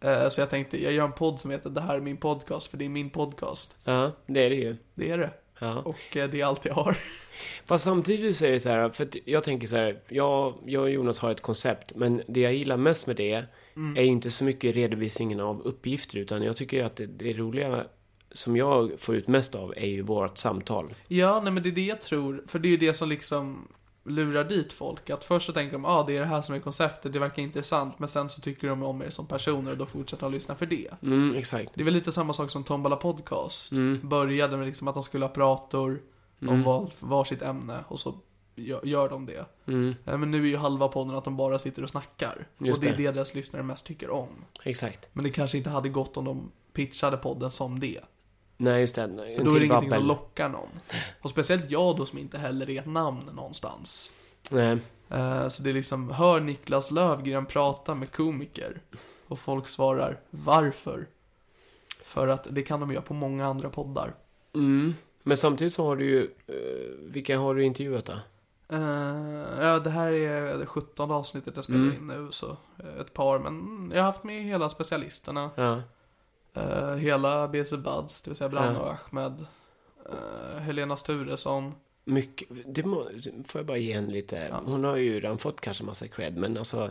A: Eh, så jag tänkte, jag gör en podd som heter Det här är min podcast, för det är min podcast.
B: Ja, det är det ju.
A: Det är det.
B: Ja.
A: Och eh, det är allt jag har.
B: Fast samtidigt så är det så här, för att jag tänker så här, jag, jag och Jonas har ett koncept, men det jag gillar mest med det
A: Mm.
B: är ju inte så mycket redovisningen av uppgifter, utan jag tycker att det, det roliga som jag får ut mest av är ju vårt samtal.
A: Ja, nej men det är det jag tror, för det är ju det som liksom lurar dit folk. Att först så tänker de, ah, det är det här som är konceptet, det verkar intressant, men sen så tycker de om er som personer och då fortsätter de lyssna för det.
B: Mm, exakt.
A: Det är väl lite samma sak som Tombola Podcast.
B: Mm.
A: Började med liksom att de skulle ha prator om var, varsitt ämne och så gö- gör de det.
B: Mm,
A: Eh, Men nu är ju halva podden att de bara sitter och snackar.
B: Just
A: och det är
B: det.
A: det. deras lyssnare mest tycker om.
B: exakt.
A: Men det kanske inte hade gått om de pitchade podden som det.
B: Nej, just det. En
A: För då är det ingenting som lockar någon. Och speciellt jag då som inte heller är ett namn någonstans.
B: Nej,
A: Eh, Så det är liksom, hör Niklas Lövgren prata med komiker. Och folk svarar, varför? För att det kan de göra på många andra poddar.
B: mm. Men samtidigt så har du ju, eh, vilka har du intervjuat då?
A: Eh, ja, det här är det 17 avsnittet jag
B: Mm.
A: spelar in nu, så eh, ett par. Men jag har haft med hela specialisterna.
B: Ja.
A: Eh, hela BC Buds, det vill säga Branne
B: Ja.
A: och Ahmed. eh, Helena Sturesson.
B: Mycket, det må, får jag bara ge en lite, hon har ju redan fått kanske massa cred, men alltså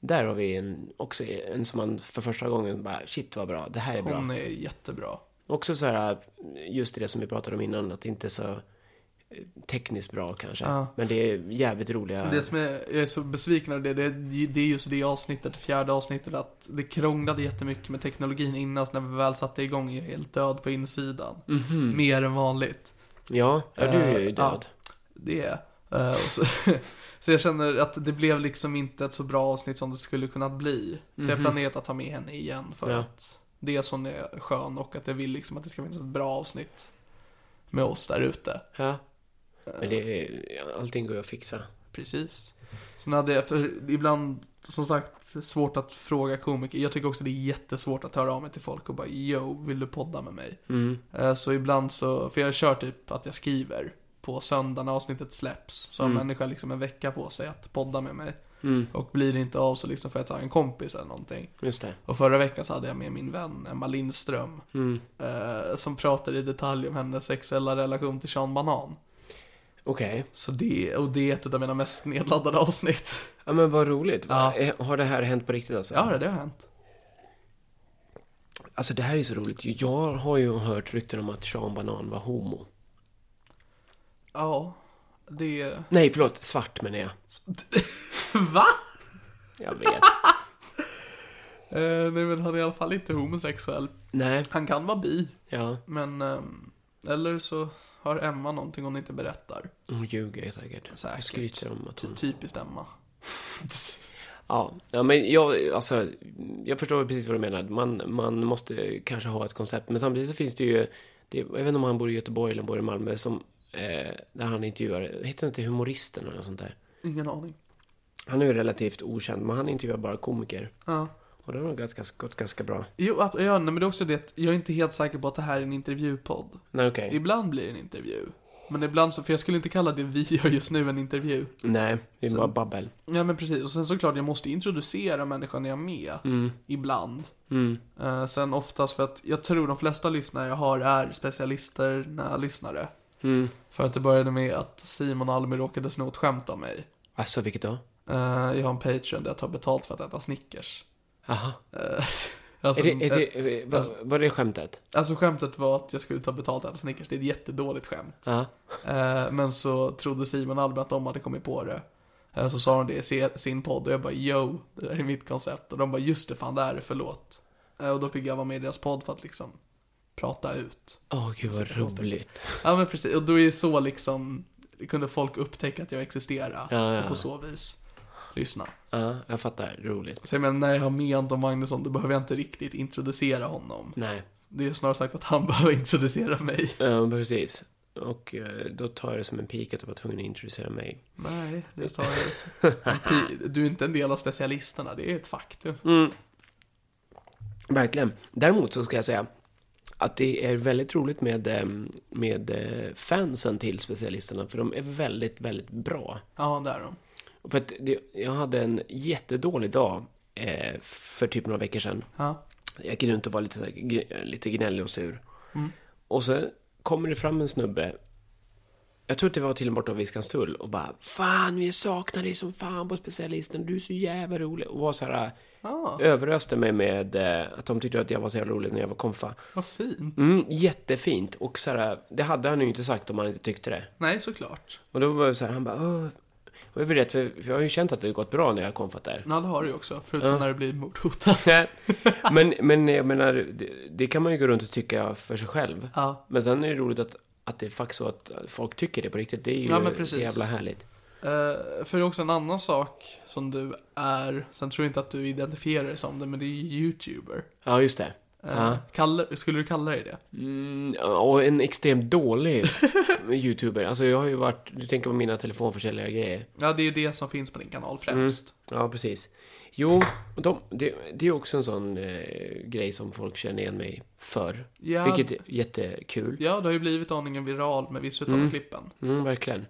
B: där har vi en, också en som man för första gången bara, shit vad bra, det här är bra.
A: Hon är jättebra.
B: Också så här, just det som vi pratade om innan, att det inte är så eh, tekniskt bra kanske,
A: Ja.
B: men det är jävligt roliga...
A: Det som är, jag är så besviken över det, det, är- det är just det avsnittet, fjärde avsnittet, att det krånglade jättemycket med teknologin innan, så när vi väl satte igång är jag helt död på insidan. Mer än vanligt.
B: Ja, ja, du är ju
A: Eh,
B: död.
A: Det är jag. Eh, och så, (laughs) så jag känner att det blev liksom inte ett så bra avsnitt som det skulle kunnat bli. Så jag planerat att ta med henne igen för
B: Ja.
A: att det är som är skön och att jag vill liksom att det ska finnas ett bra avsnitt med oss där ute.
B: Ja. Men det, är- allting går ju att fixa.
A: Precis. Sen hade jag, för ibland, som sagt, svårt att fråga komiker. Jag tycker också det är jättesvårt att höra av mig till folk och bara Yo, vill du podda med mig? Eh, Så ibland så, för jag kör typ att jag skriver på söndagen när avsnittet släpps. Så har människan liksom en vecka på sig att podda med mig. Och blir det inte av så liksom får jag ta en kompis eller någonting.
B: Just det.
A: Och förra veckan så hade jag med min vän Emma Lindström. Eh, som pratade i detalj om hennes sexuella relation till Sean Banan.
B: Okej.
A: Så det, och det är ett av mina mest nedladdade avsnitt.
B: Ja men vad roligt.
A: Ja.
B: Eh, Har det här hänt på riktigt alltså?
A: Ja, det har hänt.
B: Alltså det här är så roligt. Jag har ju hört rykten om att Sean Banan var homo.
A: Ja, det...
B: Nej, förlåt. Svart menar jag.
A: Va?
B: Jag vet.
A: Eh, nej, men han är i alla fall inte homosexuell.
B: (laughs) Nej,
A: Han kan vara bi,
B: ja.
A: men... ehm, eller så har Emma någonting hon inte berättar.
B: Hon ljuger ju säkert.
A: Säkert.
B: Hon skryter om att
A: Ty-
B: hon...
A: typiskt Emma.
B: Ja, ja men jag, alltså, jag förstår precis vad du menar. Man, man måste kanske ha ett koncept. Men samtidigt så finns det ju, det, jag vet inte om han bor i Göteborg eller bor i Malmö, som, eh, där han intervjuar, heter inte humoristen eller något sånt där?
A: Ingen aning.
B: Han är ju relativt okänd, men han intervjuar bara komiker.
A: Ja.
B: Och det har nog ganska, gått ganska bra.
A: Jo, ab- ja, nej, men det är också det att jag är inte helt säker på att det här är en intervjupodd.
B: Nej, okej.
A: Ibland blir det en interview. Men ibland så, för jag skulle inte kalla det vi gör just nu en intervju.
B: Nej, det är bara babbel.
A: Ja men precis, och sen såklart jag måste introducera människan jag är med.
B: Mm.
A: Ibland. Eh, sen oftast för att jag tror de flesta lyssnare jag har är specialisterna lyssnare.
B: Mm.
A: För att det började med att Simon Almi råkade sno ett skämt av mig.
B: Alltså, vilket då?
A: Eh, jag har en Patreon där jag tar betalt för att äta Snickers.
B: Aha.
A: Eh, (laughs) alltså,
B: Är det, är
A: eh,
B: det, eh, vad, vad är det skämtet?
A: alltså skämtet var att jag skulle ta betalt för att äta Snickers, det är ett jättedåligt skämt.
B: Ja.
A: Eh, Men så trodde Simon Albin att de hade kommit på det. Eh, Så sa de det i se- sin podd och jag bara yo, det där är mitt koncept. Och de bara just det, fan det här är förlåt. Eh, Och då fick jag vara med i deras podd för att liksom prata ut.
B: Åh, gud vad roligt.
A: Ja men precis, och då är det så liksom, kunde folk upptäcka att jag existerar.
B: Ja, ja.
A: Och på så vis lyssna.
B: Ja, jag fattar. Roligt.
A: Så jag menar, när jag har med Anton Magnusson då behöver jag inte riktigt introducera honom.
B: Nej.
A: Det är snarare sagt att han (laughs) behöver introducera mig.
B: Ja, precis. Och eh, då tar jag det som en pik att du var tvungen att introducera mig.
A: Nej, det (laughs) sa jag inte. Du är inte en del av specialisterna, det är ett faktum.
B: Verkligen. Däremot så ska jag säga att det är väldigt roligt med, eh, med eh, fansen till specialisterna, för de är väldigt, väldigt bra.
A: Ja, det är de.
B: För att det, jag hade en jättedålig dag eh, för typ några veckor sedan.
A: Ja.
B: Jag gick runt och var lite, så här gn- lite gnällig och sur. Och så kommer det fram en snubbe. Jag tror att det var till och med borta vid Skanstull och bara Fan, vi saknar dig som fan på specialisten. Du är så jävla rolig. Och var så här,
A: Ja,
B: överöste mig med eh, att de tyckte att jag var så jävla rolig när jag var konfa.
A: vad fint.
B: Mm, jättefint. Och så här, det hade han ju inte sagt om han inte tyckte det.
A: Nej, såklart.
B: Och då var det så här, han bara Åh. Och jag vet, för för jag har ju känt att det har gått bra när jag har konfat där.
A: Ja, det har du ju också. Förutom när du blir mordhotad. (laughs)
B: Nej, men, men jag menar, det, det kan man ju gå runt och tycka för sig själv.
A: Ja.
B: Men sen är det roligt att, att det är faktiskt så att folk tycker det på riktigt. Det är ju
A: Ja, men
B: så
A: precis.
B: jävla härligt.
A: Eh, för det är också en annan sak som du är, sen tror jag inte att du identifierar dig som det, men det är ju youtuber.
B: Ja, just det.
A: Eh, kallar- skulle du kalla dig det?
B: Mm, och en extremt dålig (laughs) youtuber. Alltså jag har ju varit, du tänker på mina telefonförsäljargrejer. Mm.
A: Ja, det är ju det som finns på din kanal främst.
B: Ja, precis. Jo, och de, det, det är också en sån eh, grej som folk känner igen mig för.
A: Ja.
B: Vilket är jättekul.
A: Ja, det har ju blivit aningen viral med vissa utav
B: Mm.
A: klippen.
B: Mm, verkligen.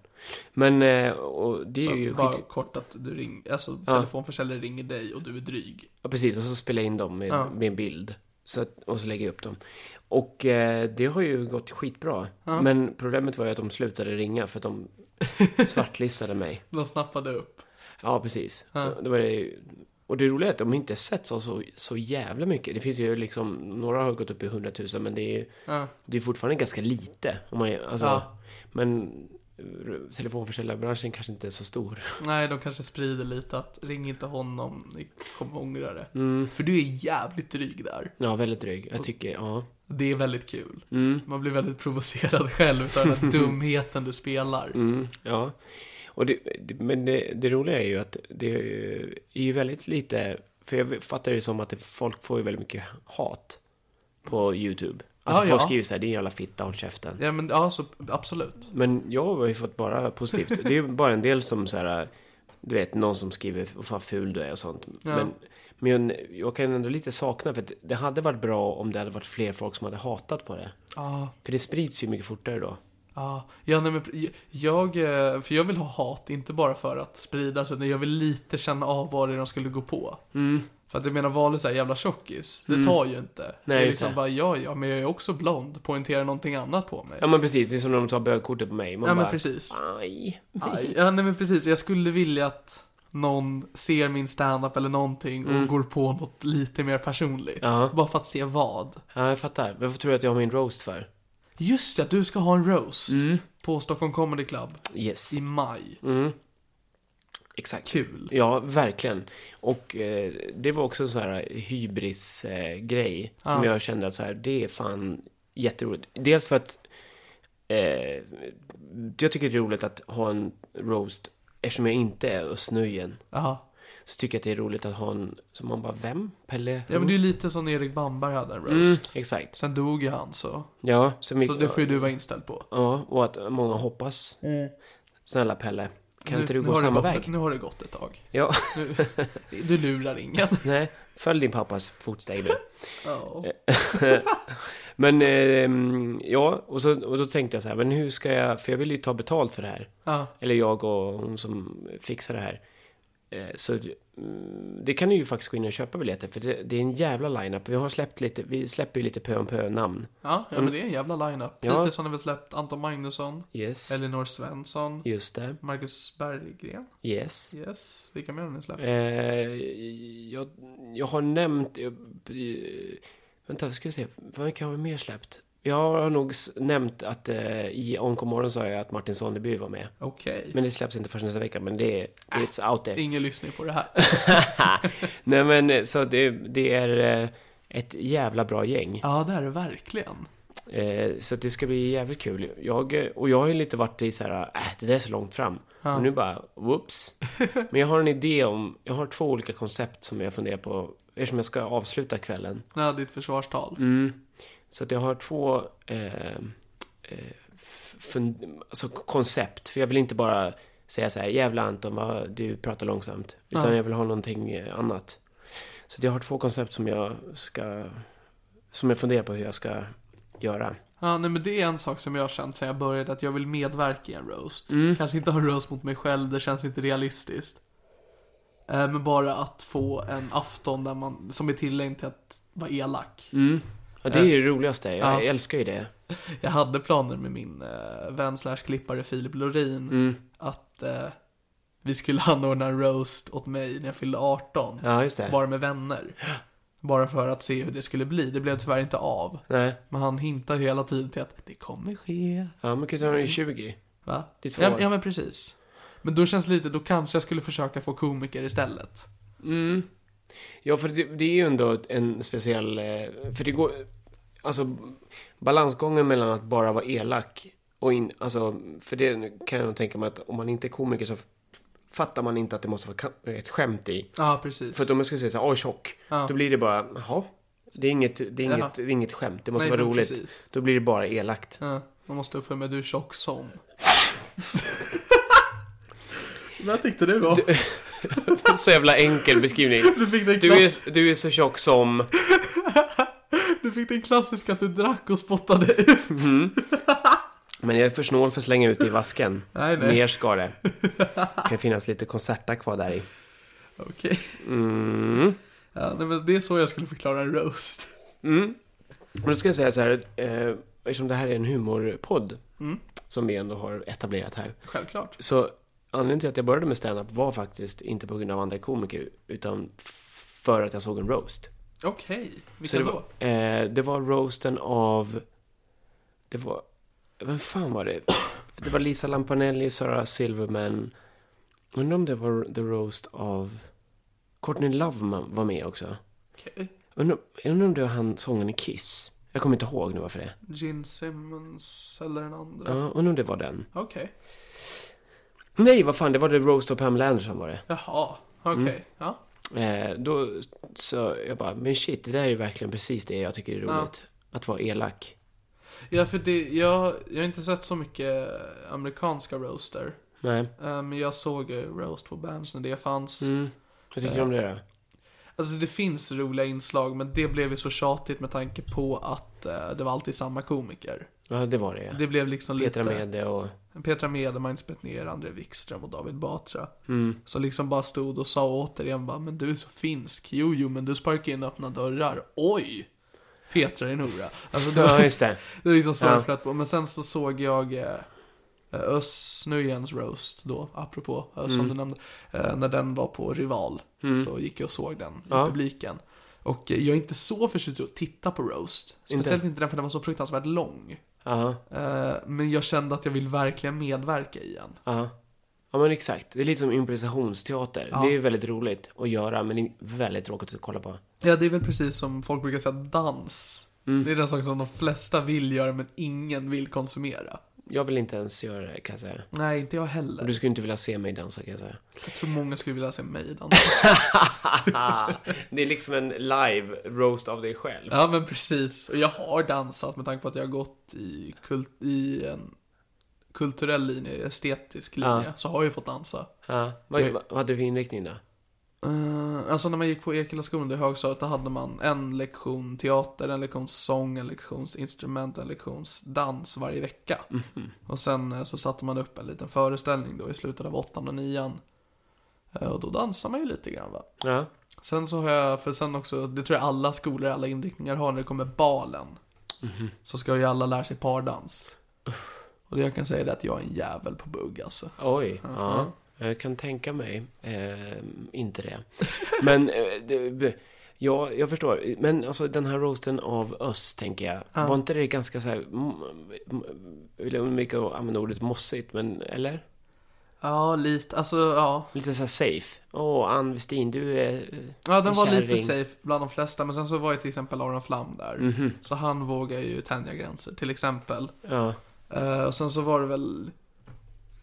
B: Men, eh, och det är
A: så
B: ju
A: bara
B: skit...
A: kort att du ringer, alltså
B: Ja.
A: telefonförsäljare ringer dig och du är dryg.
B: Ja, precis. Och så spelar jag in dem med,
A: Ja.
B: med en bild. Så att, och så lägger jag upp dem. Och eh, det har ju gått skitbra.
A: Ja.
B: Men problemet var ju att de slutade ringa för
A: (laughs)
B: att de svartlistade mig.
A: De snappade upp.
B: Ja, precis.
A: Ja.
B: Det var det, och det roliga är att de inte setts av så, så jävla mycket. Det finns ju liksom, några har gått upp i 100 000 men det är ju
A: Ja.
B: det är fortfarande ganska lite. Om man, alltså,
A: Ja.
B: Men eh, telefonförsäljarbranschen kanske inte är så stor.
A: Nej, de kanske sprider lite att ring inte honom, ni kommer ångra det.
B: Mm.
A: För du är jävligt dryg där.
B: Ja, väldigt dryg. Jag tycker, ja.
A: Det är väldigt kul.
B: Mm.
A: Man blir väldigt provocerad (laughs) själv utav
B: (laughs)
A: den här dumheten du spelar.
B: Mm, ja. Och det, det, men det, det roliga är ju att det är ju väldigt lite, för jag fattar det som att det, folk får ju väldigt mycket hat på YouTube. Alltså
A: Ja,
B: folk
A: Ah, ja.
B: skriver så här, din jävla fitta, håll käften.
A: Ja, men ja, så absolut.
B: Men jag har ju fått bara positivt. Det är ju bara en del som så här, du vet, någon som skriver "Vad fan ful du är och sånt. Men, men jag, jag kan ändå lite sakna, för att det hade varit bra om det hade varit fler folk som hade hatat på det.
A: Ja,
B: För det sprids ju mycket fortare då.
A: ja. Ja, nej, men pr- jag, eh, för jag vill ha hat, inte bara för att spridas, utan jag vill lite känna av vad det är de skulle gå på.
B: Mm.
A: För att jag menar, val är så här jävla tjockis. Det tar ju inte.
B: Nej,
A: det är
B: just
A: liksom
B: det.
A: bara, ja, ja, men jag är också blond. Poängtera någonting annat på mig.
B: Ja men precis, det är som när de tar bögkortet på mig. Man
A: Ja,
B: bara,
A: men precis.
B: Aj.
A: Aj, Ja, nej men precis. Jag skulle vilja att någon ser min standup eller någonting och går på något lite mer personligt.
B: Mm. Ja.
A: Bara för att se vad.
B: Ja, jag fattar. Varför tror du att jag har min roast för?
A: Just det, att du ska ha en roast
B: Mm.
A: på Stockholm Comedy Club
B: Yes.
A: i maj.
B: Mm. Exakt.
A: Kul.
B: Ja, verkligen. Och eh, det var också en sån här hybris-grej eh, grej som jag kände att så här, det är fan jätteroligt. Dels för att eh, jag tycker det är roligt att ha en roast eftersom jag inte är Östnöjen.
A: Jaha.
B: Så tycker jag att det är roligt att ha en som man bara, vem? Pelle?
A: Ja men det är ju lite som Erik Bamberg hade en roast.
B: mm, Exakt.
A: Sen dog ju han så.
B: Ja, så
A: Så
B: mycket,
A: det får ju du vara inställd på.
B: ja, och att många hoppas. Snälla Pelle, kan inte du gå
A: Mm. har det
B: samma
A: gått,
B: väg?
A: Nu har det gått ett tag.
B: Ja. (laughs)
A: Du lurar ingen.
B: Nej, följ din pappas fotsteg nu.
A: Ja.
B: Men eh, mm, ja, och, så, och då tänkte jag så här, men hur ska jag, för jag vill ju ta betalt för det här.
A: Ja.
B: Eller jag och hon som fixar det här. Eh, Så mm, det kan ni ju faktiskt gå in och köpa biljetter för det, det är en jävla line-up. Vi har släppt lite, vi släpper ju lite pö om pö namn.
A: Ja, ja men det är en jävla line-up.
B: Mm. Ja.
A: Hittills har ni väl släppt Anton Magnusson,
B: Yes,
A: Elinor Svensson,
B: just det.
A: Marcus Berggren.
B: Yes.
A: Yes, vilka mer har ni släppt?
B: Eh, jag, jag har nämnt... eh, eh, vänta, ska vi se. Vad kan jag ha mer släppt? Jag har nog s- nämnt att eh, i Onkomorgon sa jag att Martin Sonneby var med.
A: Okej.
B: Men det släpps inte förrän nästa vecka, men det är... It's out there.
A: Ingen lyssnar på det
B: (laughs)
A: här.
B: Nej men, eh, så det, det är eh, ett jävla bra gäng.
A: Ja, det är det verkligen.
B: Eh, så att det ska bli jävligt kul. Jag, eh, och jag har ju lite varit i så här, äh, det där är så långt fram. Och nu bara, whoops. Men jag har en idé om, jag har två olika koncept som jag funderar på, eftersom jag ska avsluta kvällen.
A: Ja, ditt försvarstal.
B: Mm. Så att jag har två eh, eh, f- fund- alltså koncept, för jag vill inte bara säga så här, jävla Anton, vad, du pratar långsamt. Utan jag vill ha någonting eh, annat. Så att jag har två koncept som jag ska, som jag funderar på hur jag ska göra.
A: Ja, nej men det är en sak som jag har känt sedan jag började, att jag vill medverka i en roast.
B: Mm.
A: Kanske inte ha en roast mot mig själv, det känns inte realistiskt. Eh, Men bara att få en afton där man, som är tillägnad till att vara elak.
B: Ja, det är ju det roligaste. Jag älskar ju det.
A: Jag hade planer med min eh, vän slash klippare Filip Lorin
B: Mm.
A: att eh, vi skulle (laughs) anordna en roast åt mig när jag fyllde 18.
B: Ja, just det.
A: Bara med vänner. Bara för att se hur det skulle bli. Det blev tyvärr inte av.
B: Nej.
A: Men han hintar hela tiden till att det kommer ske.
B: Ja, men kan du ta i 20?
A: Va?
B: Det är två
A: Ja,
B: år.
A: ja men precis. Men då känns det lite, då kanske jag skulle försöka få komiker istället.
B: Mm. Ja, för det, det är ju ändå en speciell... eh, För det går... Alltså, balansgången mellan att bara vara elak och in... Alltså, för det kan jag nog tänka mig att om man inte är komiker så fattar man inte att det måste vara ka- ett skämt i.
A: Ja, precis.
B: För att om jag skulle säga så här, oj tjock,
A: Ja.
B: då blir det bara, jaha. Det är inget, det är
A: Jaha.
B: inget, det är inget skämt, det måste
A: Nej,
B: vara
A: men
B: roligt.
A: precis.
B: Då blir det bara elakt.
A: Ja, man måste uppföra mig, du är
B: (laughs)
A: tjock som. Vad tyckte du om?
B: Så jävla enkel (laughs) beskrivning.
A: Du fick den,
B: Du
A: klass...
B: är, du är så tjock som...
A: du fick den klassiska att du drack och spottade ut.
B: Men jag är för snål för att slänga ut det i vasken.
A: (laughs) Nej, nej.
B: Mer ska det. Det kan finnas lite konsertakva där i.
A: Okej.
B: Mm.
A: Ja, nej, men det är så jag skulle förklara en roast.
B: Mm. Men då ska jag säga så här, eh, eftersom det här är en humorpodd
A: Mm.
B: som vi ändå har etablerat här.
A: Självklart.
B: Så anledningen till att jag började med stand-up var faktiskt inte på grund av andra komiker, utan f- för att jag såg en roast.
A: Okej.
B: Så
A: Vilka
B: det
A: då?
B: var, eh, det var roasten av... Det var... Vem fan var det? Det var Lisa Lampanelli, Sarah Silverman. Undrar om det var the roast av... Courtney Love ma- var med också.
A: Okej.
B: Undrar undrar om det var han sången i Kiss. Jag kommer inte ihåg nu varför det.
A: Gene Simmons eller den andra.
B: Ja, undrar om det var den.
A: Okej.
B: Nej, vad fan, det var the roast av Pamela Anderson var det.
A: Jaha. Okej.
B: Mm.
A: Ja.
B: Eh, då så jag bara, men shit, det där är verkligen precis det jag tycker är
A: Ja.
B: roligt. Att vara elak.
A: Ja, för det, jag, jag har inte sett så mycket amerikanska roaster.
B: Nej.
A: Eh, Men jag såg eh, roast på Berns när det fanns.
B: Mm. Vad
A: Eh.
B: tycker du om det då?
A: Alltså det finns roliga inslag, men det blev ju så tjatigt med tanke på att eh, det var alltid samma komiker.
B: Ja, det var det ja.
A: Det blev liksom
B: Petra
A: lite...
B: med det och...
A: Petra Mede, spett ner André Wikström och David Batra.
B: Mm.
A: Så liksom bara stod och sa återigen bara, men du är så finsk. Jo, jo, men du sparkar in öppna dörrar. Oj! Petra din hora. Alltså
B: (laughs)
A: det
B: Ja,
A: var,
B: just det.
A: det var liksom
B: Ja.
A: surflat på. Men sen så såg jag eh, Özz Nujens roast då, apropå Özz
B: Mm.
A: som du nämnde. Eh, när den var på Rival så gick jag och såg den i
B: Ja.
A: publiken. Och eh, jag är inte så förtjust i att titta på roast. Speciellt inte, den för den var så fruktansvärt lång.
B: Ja,
A: Eh, men jag kände att jag vill verkligen medverka i en.
B: ja. Ja, men exakt. Det är lite som improvisationsteater. Det är ju väldigt roligt att göra, men det är väldigt tråkigt att kolla på.
A: Ja, det är väl precis som folk brukar säga, dans.
B: Mm.
A: Det är den sak som de flesta vill göra men ingen vill konsumera.
B: Jag vill inte ens göra det, kan jag säga.
A: Nej, inte jag
B: Och
A: heller.
B: du skulle inte vilja se mig dansa, kan jag säga.
A: Jag tror många skulle vilja se mig dansa.
B: (laughs) det är liksom en live roast av dig själv.
A: ja, men precis. Och jag har dansat med tanke på att jag har gått i, kult- i en kulturell linje, estetisk linje,
B: Ja.
A: så har jag ju fått dansa.
B: Ja. Vad, vad hade du för inriktning då?
A: Eh, alltså när man gick på Ekellaskolan i högstadiet, då hade man en lektion teater, en lektion sång, en lektion instrument, en lektion dans varje vecka. Och sen eh, så satte man upp en liten föreställning då i slutet av åttan och nian. Eh, och då dansar man ju lite grann va.
B: Ja.
A: Sen så har jag, för sen också, det tror jag alla skolor, alla inriktningar har när det kommer balen.
B: Mhm.
A: Så ska ju alla lära sig pardans. Och det jag kan säga är att jag är en jävel på bugg alltså.
B: Oj, ja. Jag kan tänka mig eh, inte det. Men eh, det, b- ja, jag förstår. Men alltså den här roasten av öss, tänker jag. Var inte det ganska så här... m- m- Vill jag undvika att använda ordet mossigt, men eller?
A: Ja, lite, alltså ja.
B: Lite så här safe. Åh, Ann Westin, du är... eh,
A: Ja, den
B: en
A: var lite
B: kärring.
A: safe bland de flesta, men sen så var ju till exempel Aron Flam där.
B: Mhm.
A: Så han vågar ju tänja gränser, till exempel.
B: Ja,
A: Eh, och sen så var det väl...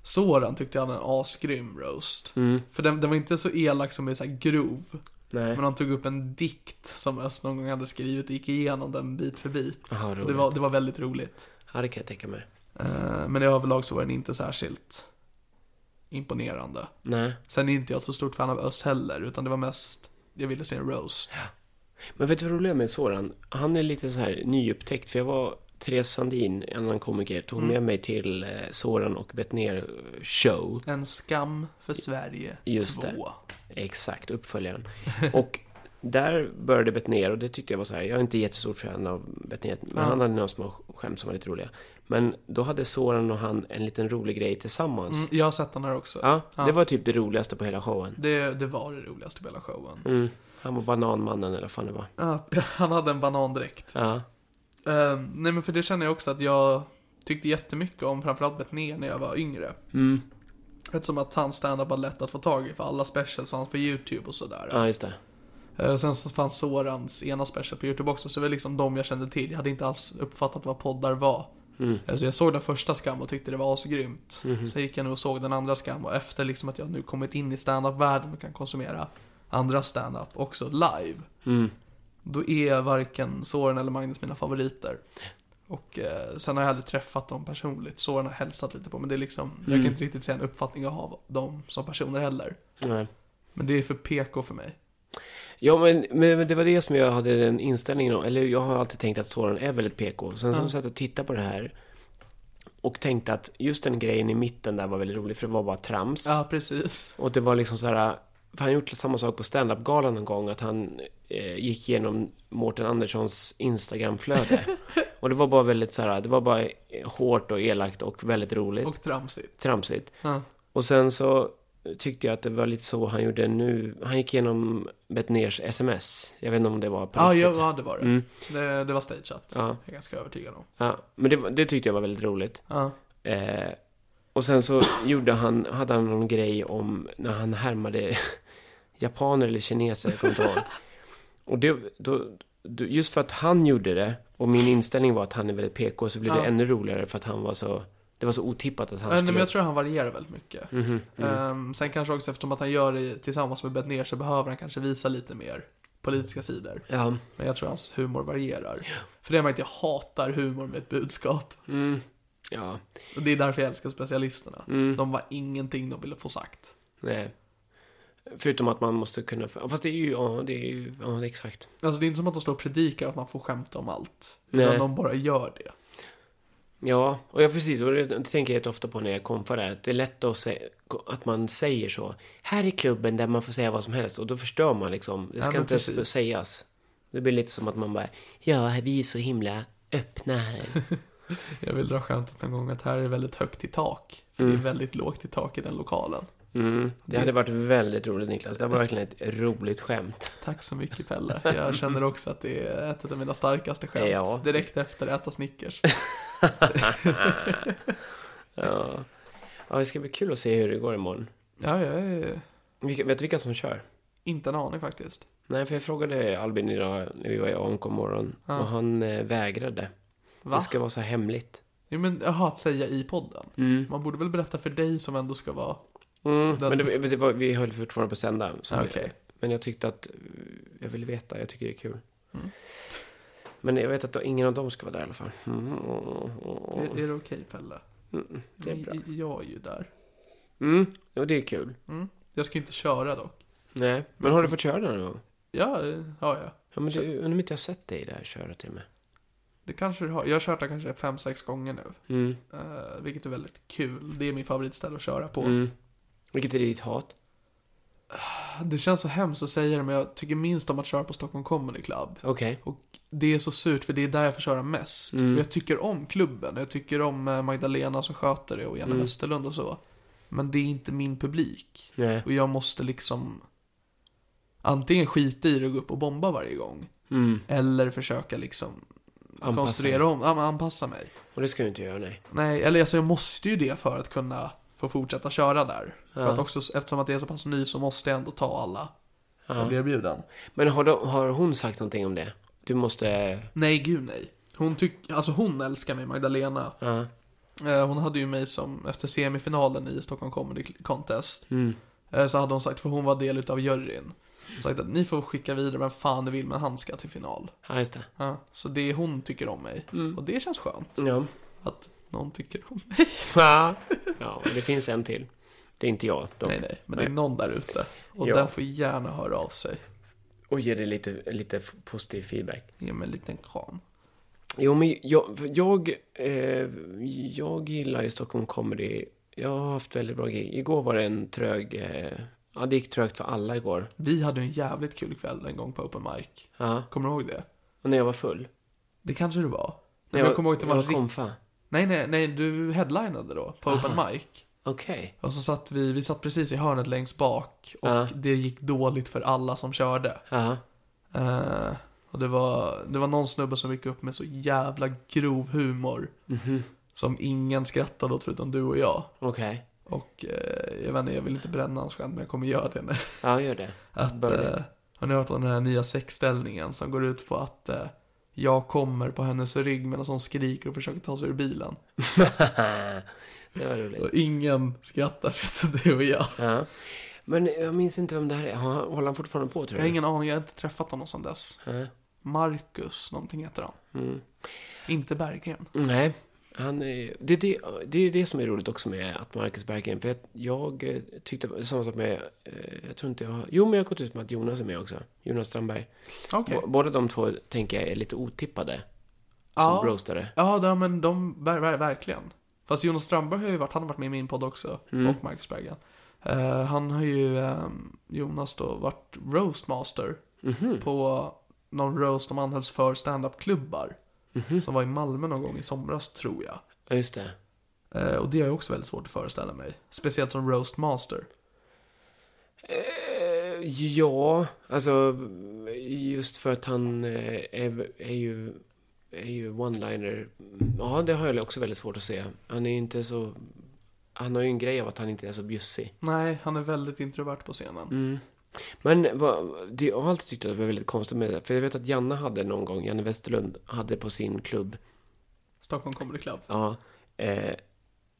A: Soran tyckte jag hade en asgrym roast.
B: Mm.
A: För den, den var inte så elak som är så här grov.
B: nej.
A: Men han tog upp en dikt som Öst någon gång hade skrivit och gick igenom den bit för bit.
B: Aha,
A: Och det,
B: roligt.
A: var, det var väldigt roligt.
B: Ja, det kan jag tänka mig.
A: Eh, men i överlag så var den inte särskilt imponerande.
B: Nej.
A: Sen är inte jag ett så stort fan av Öst heller, utan det var mest... Jag ville se en roast.
B: Men vet du vad roliga med Soran? Han är lite så här nyupptäckt, för jag var... Therese Sandin, en annan komiker, tog med mig till eh, Soran och Betnér show.
A: En skam för Sverige
B: Just
A: 2.
B: det. Exakt, uppföljaren. Och där började Betnér och det tyckte jag var så här, jag är inte jättestor fan av Betnér, men han hade några små skämt som var lite roliga. Men då hade Soran och han en liten rolig grej tillsammans.
A: Mm, jag har sett den här också.
B: Ja, det var typ det roligaste på hela showen.
A: Det, det var det roligaste på hela showen.
B: Mm. Han var bananmannen eller vad fan det var.
A: Ja, (laughs) han hade en banandräkt.
B: Ja,
A: Eh, nej men för det känner jag också att jag tyckte jättemycket om framförallt Betnér när jag var yngre.
B: Mm.
A: Eftersom att hans standup var lätt att få tag i för alla specials fanns på YouTube och sådär.
B: ja just det.
A: Eh, sen så fanns Sorans ena special på YouTube också, så det var liksom de jag kände till. Jag hade inte alls uppfattat vad poddar var.
B: Mm. Mhm.
A: Eh, Så jag såg den första Skam och tyckte det var asgrymt. Sen gick jag nu och såg den andra Skam och efter liksom att jag nu kommit in i standup-världen och kan konsumera andra standup också live.
B: Mm.
A: Då är varken Soran eller Magnus mina favoriter. Och eh, sen har jag aldrig träffat dem personligt. Soran har
B: Mm.
A: hälsat lite på men det är liksom, jag kan inte riktigt säga en uppfattning jag har av dem som personer heller.
B: Nej.
A: Men det är för PK för mig.
B: Ja, men, men, men det var det som jag hade den inställningen om. Eller jag har alltid tänkt att Soran är väldigt PK. Sen så satt jag och tittade på det här och tänkte att just den grejen i mitten där var väldigt rolig för det var bara trams.
A: Ja, precis.
B: Och det var liksom så här, för han har gjort samma sak på standup-galan en gång, att han eh, gick igenom Mårten Anderssons Instagram-flöde. och det var bara väldigt så här, det var bara eh, hårt och elakt och väldigt roligt,
A: Och tramsigt.
B: tramsigt.
A: Ja.
B: Och sen så tyckte jag att det var lite så han gjorde nu, han gick igenom Betnérs sms. Jag vet inte om det var på
A: Ja,
B: riktigt.
A: ja, ja, det var det.
B: Mm.
A: det. Det var stageat.
B: Ja.
A: Jag är ganska övertygad om.
B: Ja, men det, var- det tyckte jag var väldigt roligt.
A: Ja.
B: Eh, och sen så gjorde han, hade han någon grej om när han härmade (laughs) japaner eller kineser, jag kommer inte ihåg. Och det, då, då, just för att han gjorde det, och min inställning var att han är väldigt PK, så blev
A: Ja.
B: det ännu roligare för att han var så, det var så otippat att
A: Äh,
B: han
A: nej,
B: skulle...
A: men jag tror han varierar väldigt mycket.
B: Mhm, mhm.
A: Ehm, sen kanske också eftersom att han gör det tillsammans med Betnér så behöver han kanske visa lite mer politiska sidor.
B: Ja,
A: Men jag tror hans humor varierar. För det har jag märkt, jag hatar humor med ett budskap.
B: mm, ja,
A: Och det är därför jag älskar specialisterna.
B: mm,
A: De var ingenting de ville få sagt.
B: nej. Eh, Förutom att man måste kunna... Fast det är ju, ja, det är ju, ja, det är exakt.
A: Alltså det är inte som att de står och predikar att man får skämta om allt.
B: Nej.
A: Utan de bara gör det.
B: Ja, och jag precis, och det det tänker jag rätt ofta på när jag konfar där, att det är lätt att, sä- att man säger så. Här är klubben där man får säga vad som helst och då förstör man liksom. Det
A: Ja,
B: ska
A: men
B: inte ens
A: precis.
B: sägas. Det blir lite som att man bara, ja, vi är så himla öppna
A: (laughs)
B: här.
A: Jag vill dra skämtet någon gång att här är väldigt högt i tak. För det är väldigt lågt i tak i den lokalen.
B: Mm, det hade varit väldigt roligt Niklas, det var verkligen ett roligt skämt.
A: Tack så mycket Pelle.
B: (laughs)
A: Jag känner också att det är ett av mina starkaste skämt.
B: Ja.
A: Direkt efter äta Snickers.
B: Ja. ja, det ska bli kul att se hur det går imorgon.
A: Ja, jag är
B: Vilka, vet du vilka som kör?
A: inte en aning faktiskt.
B: Nej, för jag frågade Albin idag när vi var i AMK morgon
A: Ja.
B: och han eh, vägrade.
A: Va?
B: Det ska vara så här hemligt.
A: Jo, men jaha, att säga i podden.
B: Mm.
A: Man borde väl berätta för dig som ändå ska vara...
B: Mm,
A: Den-
B: men det, det var, vi höll fortfarande på att sända. så
A: Okej.
B: det- Men jag tyckte att, eh, jag ville veta, jag tycker det är kul. Men jag vet att då, ingen av dem ska vara där i alla fall. Mm,
A: Är, är det okej Pelle?
B: mm, det är bra.
A: Jag- Jag är ju där.
B: Mm, ja, det är kul.
A: Mm. Jag ska ju inte köra dock.
B: Nej, men har du fått köra den någon gång?
A: Ja, eh, ja, ja.
B: Ja, men du, undrar om inte jag har sett dig där köra till och med.
A: Det kanske du har. Jag har kört där kanske fem sex gånger nu.
B: Mm,
A: Eh, vilket är väldigt kul. Det är min favoritställe att köra på.
B: mm. Vilket är ditt hat?
A: Det känns så hemskt att säga det, men jag tycker minst om att köra på Stockholm Comedy Club.
B: Okej.
A: Och det är så surt, för det är där jag får köra mest.
B: Mm.
A: Och jag tycker om klubben. Jag tycker om eh, Magdalena som sköter det och Janne
B: Mm.
A: Westerlund och så. Men det är inte min publik.
B: Nej.
A: Och jag måste liksom antingen skita i det och gå upp och bomba varje gång.
B: Mm.
A: Eller försöka liksom
B: Anpassa
A: konstruera
B: dig.
A: om, ja, men anpassa mig.
B: Och det ska du inte göra, nej.
A: Nej, eller alltså jag måste ju det för att kunna få fortsätta köra där. För
B: Ja.
A: att också, eftersom att jag är så pass ny så måste jag ändå ta alla jag blir
B: Ja.
A: erbjuden.
B: Men har, då, har hon sagt någonting om det? Du måste...
A: Nej, gud nej. Hon tyck, alltså hon älskar mig, Magdalena.
B: Ja.
A: Eh, Hon hade ju mig som, efter semifinalen i Stockholm Comedy Contest,
B: Mm.
A: eh, så hade hon sagt, för hon var del utav juryn, sagt att ni får skicka vidare vem fan ni vill, men han ska till final.
B: Ja, just det.
A: Ja, så det är hon tycker om mig.
B: Mm.
A: Och det känns skönt.
B: Ja.
A: Att någon tycker om mig.
B: Ja, ja det finns en till. Det är inte jag dock.
A: Nej, nej. Men det är någon där ute. Och
B: Ja.
A: den får gärna höra av sig.
B: Och ge dig lite, lite f- positiv feedback.
A: Ge mig en liten kram.
B: Jo, men jag, för jag, eh, jag gillar ju Stockholm Comedy. Jag har haft väldigt bra gig. Igår var det en trög... Eh, ja, det gick trögt för alla igår.
A: Vi hade en jävligt kul kväll en gång på open mic.
B: Ja,
A: Kommer du ihåg det? Och
B: och när jag var full.
A: Det kanske det var.
B: När
A: Nej, jag, jag kommer ihåg att det var
B: jag
A: rikt...
B: konfa.
A: Nej, nej, nej, du headlinade då på open mic.
B: Okej.
A: Och så satt vi, vi satt precis i hörnet längst bak och
B: Ja.
A: det gick dåligt för alla som körde.
B: Ja.
A: Eh, och det var, det var någon snubbe som gick upp med så jävla grov humor.
B: Mhm.
A: Som ingen skrattade åt förutom du och jag.
B: Okej.
A: Och eh, jag vet inte, jag vill inte bränna hans skämt men jag kommer göra det nu.
B: Ja, gör det.
A: Att,
B: Börja
A: eh, har ni hört om den här nya sexställningen som går ut på att eh, jag kommer på hennes rygg medan hon skriker och försöker ta sig ur bilen.
B: det var roligt.
A: Och ingen skrattar förutom du och jag.
B: Ja. Men jag minns inte vem det här är. Har han- Håller han fortfarande på, tror
A: Jag
B: du?
A: har ingen aning, jag har inte träffat honom sedan dess.
B: Ja.
A: Marcus, någonting heter han.
B: Mm.
A: Inte Berggren.
B: Nej. Han, eh, det, det, det är det som är roligt också med att Marcus Berggren, för jag, jag eh, tyckte samma sak med, eh, jag tror inte jag har, jo men jag har gått ut med att Jonas är med också, Jonas Strandberg.
A: Okej.
B: Bå- Båda de två tänker jag är lite otippade som
A: Ja.
B: roastare.
A: Ja, det, men de, ver, ver, verkligen. Fast Jonas Strandberg har ju varit, han har varit med i min podd också, och Marcus Berggren. Eh, han har ju, ehm, Jonas då, varit roastmaster på någon roast de anhölls för standup-klubbar. Som var i Malmö någon gång i somras, tror jag.
B: Ja, just det.
A: Eh, och det är ju också väldigt svårt att föreställa mig. Speciellt som roastmaster.
B: Eh, Ja, alltså just för att han eh, är, är ju, är ju one-liner. Ja, det har jag också väldigt svårt att se. Han är ju inte så... Han har ju en grej av att han inte är så bjussig.
A: Nej, han är väldigt introvert på scenen.
B: Men vad, det, jag har alltid tyckt att det var väldigt konstigt med det. För jag vet att Janne hade någon gång, Janne Westerlund, hade på sin klubb,
A: Stockholm Comedy Club.
B: ja, eh,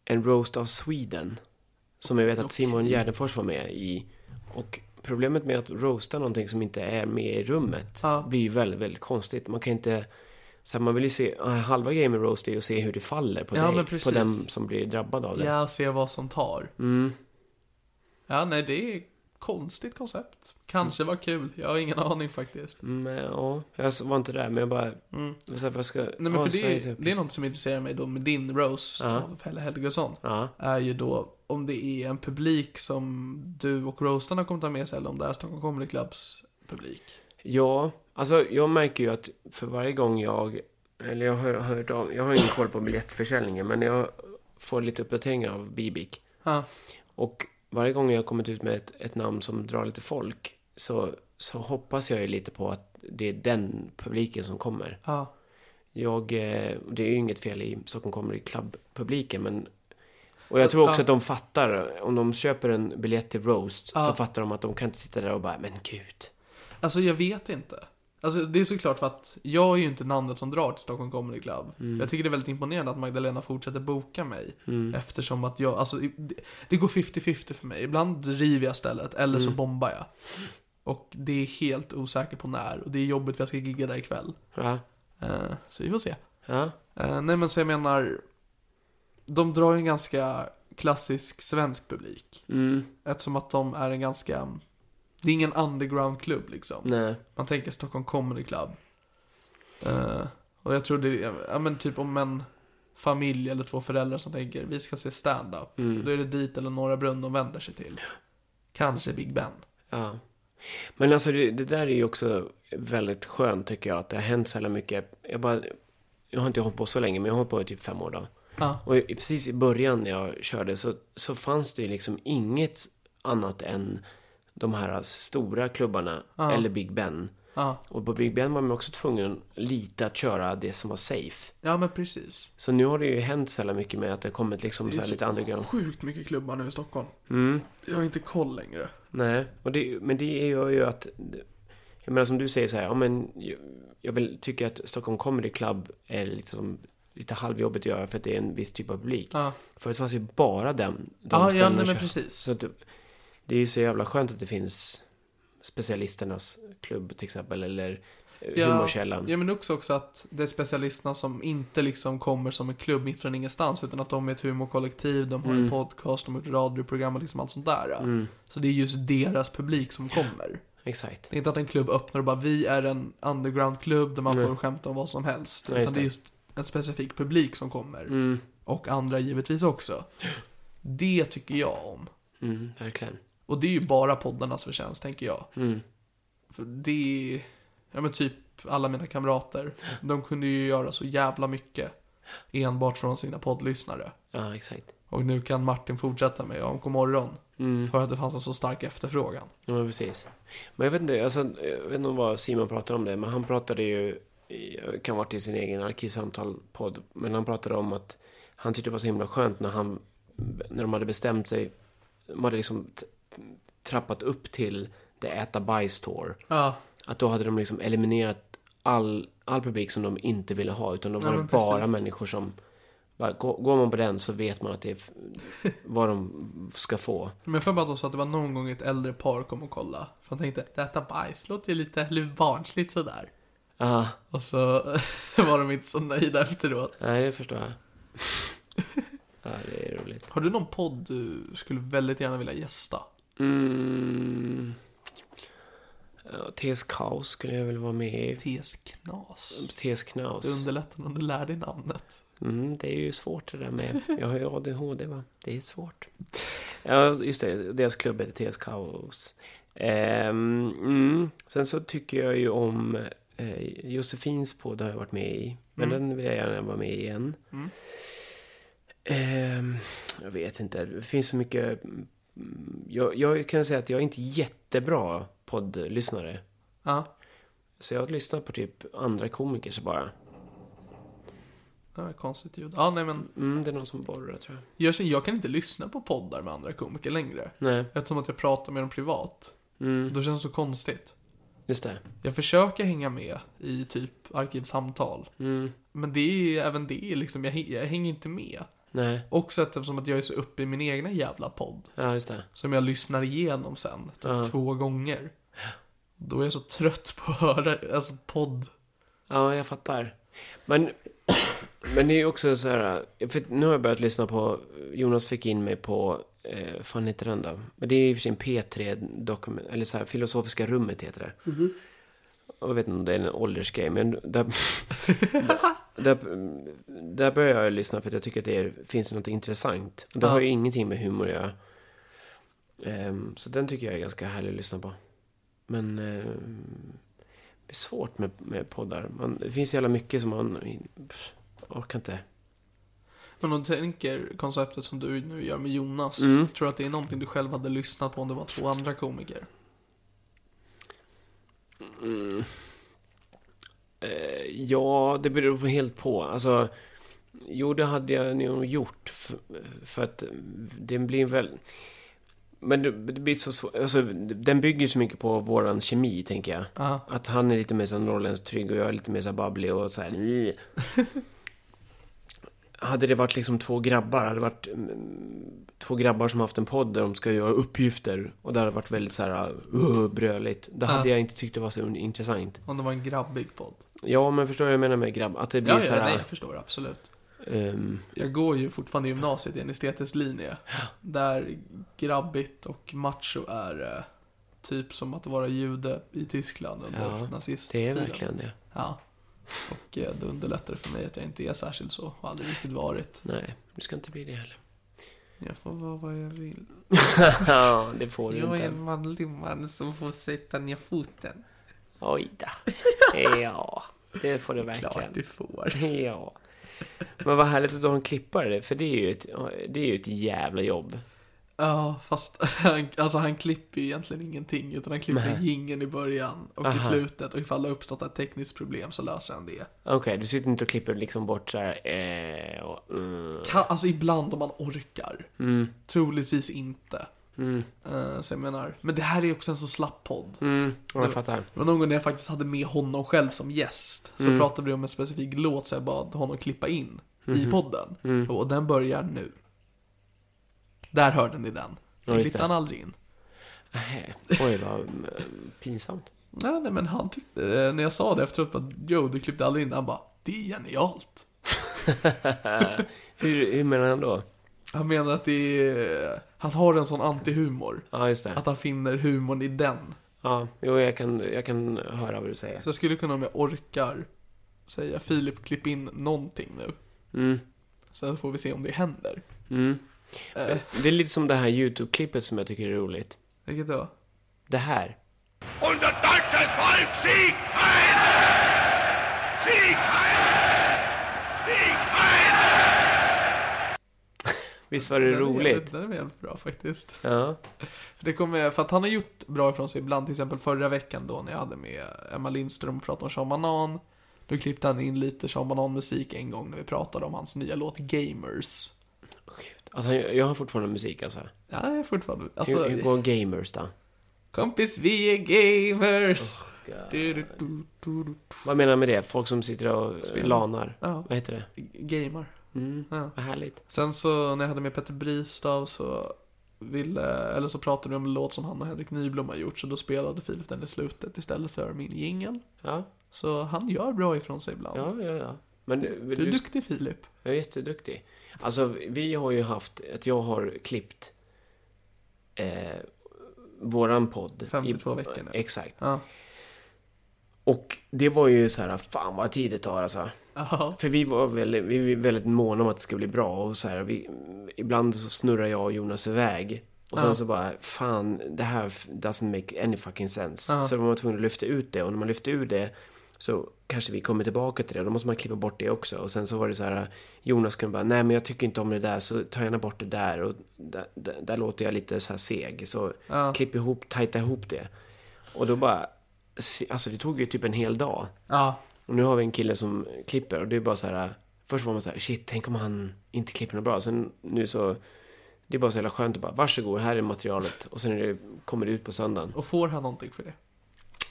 B: en roast av Sweden. Som jag vet att Simon Gärdenfors var med i. Och problemet med att roasta någonting som inte är med i rummet
A: Ja.
B: blir ju väldigt, väldigt konstigt. Man kan inte... Så här, man vill ju se, ja, halva grejen med roast är ju att se hur det faller på
A: Ja, men
B: dig. På
A: precis.
B: den som blir drabbad av det.
A: Ja, se vad som tar.
B: Mm.
A: Ja, nej, det är konstigt koncept. Kanske var kul, jag har ingen aning faktiskt.
B: Men, Mm, eh, ja, jag var inte där, men jag bara... Så här, vad ska,
A: Mm. Nej, men
B: ja,
A: för det,
B: Sverige
A: är-
B: ser
A: det är
B: piss-
A: något som intresserar mig då med din roast av Pelle Helgesson.
B: Ja.
A: Är ju då om det är en publik som du och roastarna kommer ta med sig eller om det är Stockholm Comedy Clubs publik.
B: Ja, alltså jag märker ju att för varje gång jag... Eller jag har hört av... Jag har ingen koll på biljettförsäljningen, men jag får lite uppdateringar av Bibic.
A: Ja,
B: Och varje gång jag har kommit ut med ett, ett namn som drar lite folk så, så hoppas jag ju lite på att det är den publiken som kommer.
A: ja,
B: Jag, eh, det är ju inget fel i Stockholm Comedy Club-publiken, men... Och jag tror också
A: Ja.
B: att de fattar, om de köper en biljett till Roast, så
A: Ja.
B: fattar de att de kan inte sitta där och bara, men gud.
A: alltså jag vet inte. Alltså det är såklart för att jag är ju inte namnet som drar till Stockholm Comedy Club. Jag tycker det är väldigt imponerande att Magdalena fortsätter boka mig. Eftersom att jag, alltså det, det går 50-50 för mig. Ibland driver jag stället eller så bombar jag. Och det är helt osäker på när. Och det är jobbigt för jag ska gigga där ikväll.
B: Ja,
A: Eh, så vi får se.
B: ja,
A: Eh, nej men så jag menar, de drar ju en ganska klassisk svensk publik.
B: mm,
A: Eftersom att de är en ganska, det är ingen undergroundklubb liksom.
B: nej.
A: Man tänker Stockholm Comedy Club. Eh, och jag tror det är, ja men typ om en familj eller två föräldrar som tänker vi ska se stand-up.
B: Mm.
A: Då är det dit eller Norra Brunn de vänder sig till. Kanske Big Ben.
B: Ja. Men alltså det, det där är ju också väldigt skönt tycker jag. Att det har hänt så jävla mycket. Jag, bara, jag har inte hållit på så länge, men jag har hållit på i typ fem år då.
A: Ja.
B: Och i, precis i början när jag körde så, så fanns det ju liksom inget annat än de här stora klubbarna eller Big Ben.
A: Ja.
B: Och på Big Ben var man också tvungen lite att köra det som var safe.
A: ja men precis.
B: Så nu har det ju hänt så jävla mycket med att det har kommit liksom så här lite underground.
A: Sjukt mycket klubbar nu i Stockholm.
B: Mm.
A: Jag har inte koll längre.
B: Nej, och det, men det gör ju att... Jag menar som du säger så här, ja men jag- jag vill tycka att Stockholm Comedy Club är liksom lite halvjobbigt att göra för att det är en viss typ av publik.
A: Ja,
B: Förut fanns ju bara den, de
A: ja, ja
B: ställena
A: nej,
B: att
A: men
B: köra.
A: precis.
B: Så att, det- det är ju så jävla skönt att det finns specialisternas klubb till exempel, eller ja, humorkällan.
A: Ja, men också, också att det är specialisterna som inte liksom kommer som en klubb mitt från ingenstans, utan att de är ett humorkollektiv, de har
B: Mm.
A: en podcast, de har ett radioprogram och liksom allt sånt där. Så det är just deras publik som kommer.
B: Exakt.
A: Det är inte att en klubb öppnar och bara vi är en undergroundklubb där man får skämta om vad som helst.
B: Nej, just
A: utan det är
B: det. Mm.
A: just en specifik publik som kommer. Och andra givetvis också. Det tycker jag om.
B: Mm, verkligen.
A: Och det är ju bara poddarnas förtjänst, tänker jag.
B: Mm.
A: För det är, ja men typ alla mina kamrater. De kunde ju göra så jävla mycket. Enbart från sina poddlyssnare.
B: Ja, exakt.
A: Och nu kan Martin fortsätta med om morgon.
B: Mm.
A: För att det fanns en så stark efterfrågan.
B: Ja, men precis. Men jag vet inte, alltså, jag vet inte vad Simon pratade om det, men han pratade ju, i- kan vara till sin egen arkivsamtal-podd, men han pratade om att han tyckte det var så himla skönt när han, när de hade bestämt sig, de hade liksom t- trappat upp till The Äta Bajs Tour,
A: Ja,
B: att då hade de liksom eliminerat all, all publik som de inte ville ha, utan då
A: Ja,
B: var det
A: men precis.
B: bara människor som bara, gå- Går man på den så vet man att det är f- vad de ska få.
A: men för bara då så att det var någon gång ett äldre par kom och kolla. För de tänkte, detta bajs låter ju lite, lite barnsligt sådär.
B: Ja,
A: Och så (laughs) var de inte så nöjda efteråt.
B: (laughs) nej, det förstår jag. Ja, det är roligt.
A: Har du någon podd du skulle väldigt gärna vilja gästa?
B: Mm. Ja, TS Kaos skulle jag väl vara med i.
A: TS Knas.
B: TS
A: Det
B: Knaus.
A: underlättar om du lär dig namnet.
B: Mm, det är ju svårt det där med. Jag har ju ADHD va. Det är svårt. Ja, just det. Deras klubb heter TS Kaos. Ehm, mm. Sen så tycker jag ju om eh, Josefins podd har jag varit med i. Men den vill jag gärna vara med i igen. Ehm, jag vet inte. Det finns så mycket. mm, Jag, jag kan säga att jag är inte jättebra poddlyssnare.
A: Ja,
B: Så jag har lyssnat på typ andra komikers bara.
A: det var ett konstigt ljud. Ja, nej men.
B: Mm, det är någon som borrar tror jag.
A: Jag, känner- jag kan inte lyssna på poddar med andra komiker längre.
B: Nej,
A: Eftersom att jag pratar med dem privat.
B: Mm.
A: Då känns det så konstigt.
B: just det.
A: Jag försöker hänga med i typ arkivsamtal.
B: Mm,
A: Men det är även det är liksom, jag, häng- jag hänger inte med.
B: nej,
A: Också att eftersom att jag är så uppe i min egna jävla podd.
B: ja just det.
A: Som jag lyssnar igenom sen, typ
B: Ja.
A: två gånger. Då är jag så trött på att höra, alltså podd.
B: Ja, jag fattar. Men, (clears throat) men det är ju också så här, för nu har jag börjat lyssna på, Jonas fick in mig på, eh, vad fan heter den då? Men det är ju för sig en P3-dokument, eller så här, Filosofiska rummet heter det. Och Jag vet inte om det är en åldersgrej, men där, där, där börjar jag lyssna för att jag tycker att det är, finns något intressant. Och det
A: Ja.
B: har ju ingenting med humor att göra. Ehm, så den tycker jag är ganska härlig att lyssna på. Men ehm, det är svårt med, med poddar. Man, det finns jävla mycket som man pff, orkar inte.
A: Men om du tänker konceptet som du nu gör med Jonas.
B: Mm.
A: Tror du att det är någonting du själv hade lyssnat på om det var två andra komiker?
B: Eh, ja, det beror på helt på. Alltså, jo, det hade jag nog gjort. För, för att det blir väl... Men det, det blir så svårt. Alltså, den bygger ju så mycket på våran kemi, tänker jag.
A: Ja.
B: Att han är lite mer så här norrländsk trygg och jag är lite mer så här babblig och så här. "Ni." hade det varit liksom två grabbar, hade det varit mm, två grabbar som haft en podd där de ska göra uppgifter och där hade det varit väldigt så här uh, bröligt. Då hade jag inte tyckt det var så intressant.
A: Om det var en grabbig podd?
B: Ja, men förstår du vad jag menar med grabb? Att det blir
A: Ja,
B: så
A: ja, nej,
B: här...
A: jag förstår absolut.
B: ehm,
A: Jag går ju fortfarande i gymnasiet i en estetisk linje. Där grabbigt och macho är eh, typ som att vara jude i Tyskland under
B: Ja, det
A: nazisttiden.
B: är verkligen det.
A: Ja. Och eh, det underlättar för mig att jag inte är särskilt så. Och aldrig riktigt varit.
B: Nej, du ska inte bli det
A: (laughs)
B: heller.
A: Jag får vara vad jag vill.
B: ja, det får du inte.
A: manlig man som får sätta ner foten.
B: Oj då.
A: (laughs)
B: Ja, det får du
A: Klart
B: verkligen.
A: du får.
B: Ja. Men vad härligt att du har en klippare, för det är ju ett, det är ju ett jävla jobb.
A: Ja, fast han, alltså han klipper ju egentligen ingenting. Utan han klipper jingeln i början och
B: Aha.
A: i slutet. Och ifall det har uppstått ett tekniskt problem så löser han det.
B: Okej, du sitter inte och klipper liksom bort så här, eh, och, mm,
A: Kan, alltså ibland om man orkar.
B: mm,
A: Troligtvis inte.
B: mm,
A: Eh, så jag menar, men det här är också en så slapp podd.
B: mm. Ja, Jag fattar.
A: Det var någon gång när jag faktiskt hade med honom själv som gäst.
B: Mm.
A: Så pratade vi om en specifik låt så jag bad honom klippa in
B: Mhm.
A: i podden.
B: Mm.
A: Och den börjar nu. Där hörde ni den.
B: Ja,
A: Den
B: just
A: klippte
B: det.
A: han aldrig in.
B: Nej, Oj, vad mm, pinsamt.
A: Nej, nej men han tyckte, eh, när jag sa det efteråt, bara, Joe du klippte aldrig in den." Han bara, det är genialt.
B: Hur, hur menar han då?
A: Han menar att det är, han har en sån antihumor.
B: Ja, just det.
A: Att han finner humorn i den.
B: Ja, jo, jag kan, jag kan höra vad du säger.
A: Så jag skulle kunna om jag orkar säga Filip klipp in någonting nu.
B: Mm,
A: Sen får vi se om det händer.
B: mm.
A: Eh,
B: Det är lite som det här YouTube-klippet som jag tycker är roligt.
A: vilket då?
B: Det här.
C: Unser deutsches Volk siegt ein! Sieg ein! Sieg ein!
B: Visst var det
A: Den är jävligt-
B: roligt?
A: Den är jävligt bra faktiskt.
B: Ja.
A: För, det kommer, för att han har gjort bra ifrån sig ibland, till exempel förra veckan då när jag hade med Emma Lindström och pratade om Sean Banan. Då klippte han in lite Sean Banan-musik en gång när vi pratade om hans nya låt Gamers.
B: Gud. Alltså, jag jag har fortfarande musik alltså.
A: Ja, jag är fortfarande... Alltså,
B: Hur, hur går gamers då?
A: kompis vi är gamers!
B: Oh,
A: Du, du, du, du, du.
B: Vad menar jag med det? Folk som sitter och
A: Spelar.
B: lanar?
A: Ja,
B: Vad heter det?
A: gamer.
B: Mm.
A: Ja.
B: Vad härligt.
A: Sen så när jag hade med Petter Bristav så ville, eller så pratade vi om en låt som han och Henrik Nyblom har gjort så då spelade Filip den i slutet istället för min jingel.
B: Ja,
A: Så han gör bra ifrån sig ibland.
B: ja, ja. ja. Men
A: Du är duktig Filip.
B: Jag är jätteduktig. Alltså, vi har ju haft, att jag har klippt eh, våran podd.
A: 52 veckor nu.
B: Exakt.
A: Ja.
B: Och det var ju så här, fan vad tid det tar alltså.
A: Ja.
B: För vi var väldigt, vi var väldigt måna om att det skulle bli bra och så här, vi, ibland så snurrar jag och Jonas iväg. Och sen
A: Ja.
B: så bara, fan, det här doesn't make any fucking sense.
A: Ja.
B: Så var man tvungen att lyfta ut det och när man lyfte ut det så kanske vi kommer tillbaka till det. Då måste man klippa bort det också. Och sen så var det så här, Jonas kunde bara, nej men jag tycker inte om det där så ta gärna bort det där. Och där, där, där låter jag lite så här seg. Så
A: Ja.
B: klipp ihop, tajta ihop det. Och då bara, se- alltså det tog ju typ en hel dag.
A: ja.
B: Och nu har vi en kille som klipper och det är bara så här. Först var man så här, shit, tänk om han inte klipper något bra. Sen nu så, det är bara så jävla skönt att bara, varsågod, här är materialet. Och sen är det, kommer det ut på söndagen.
A: Och får han någonting för det?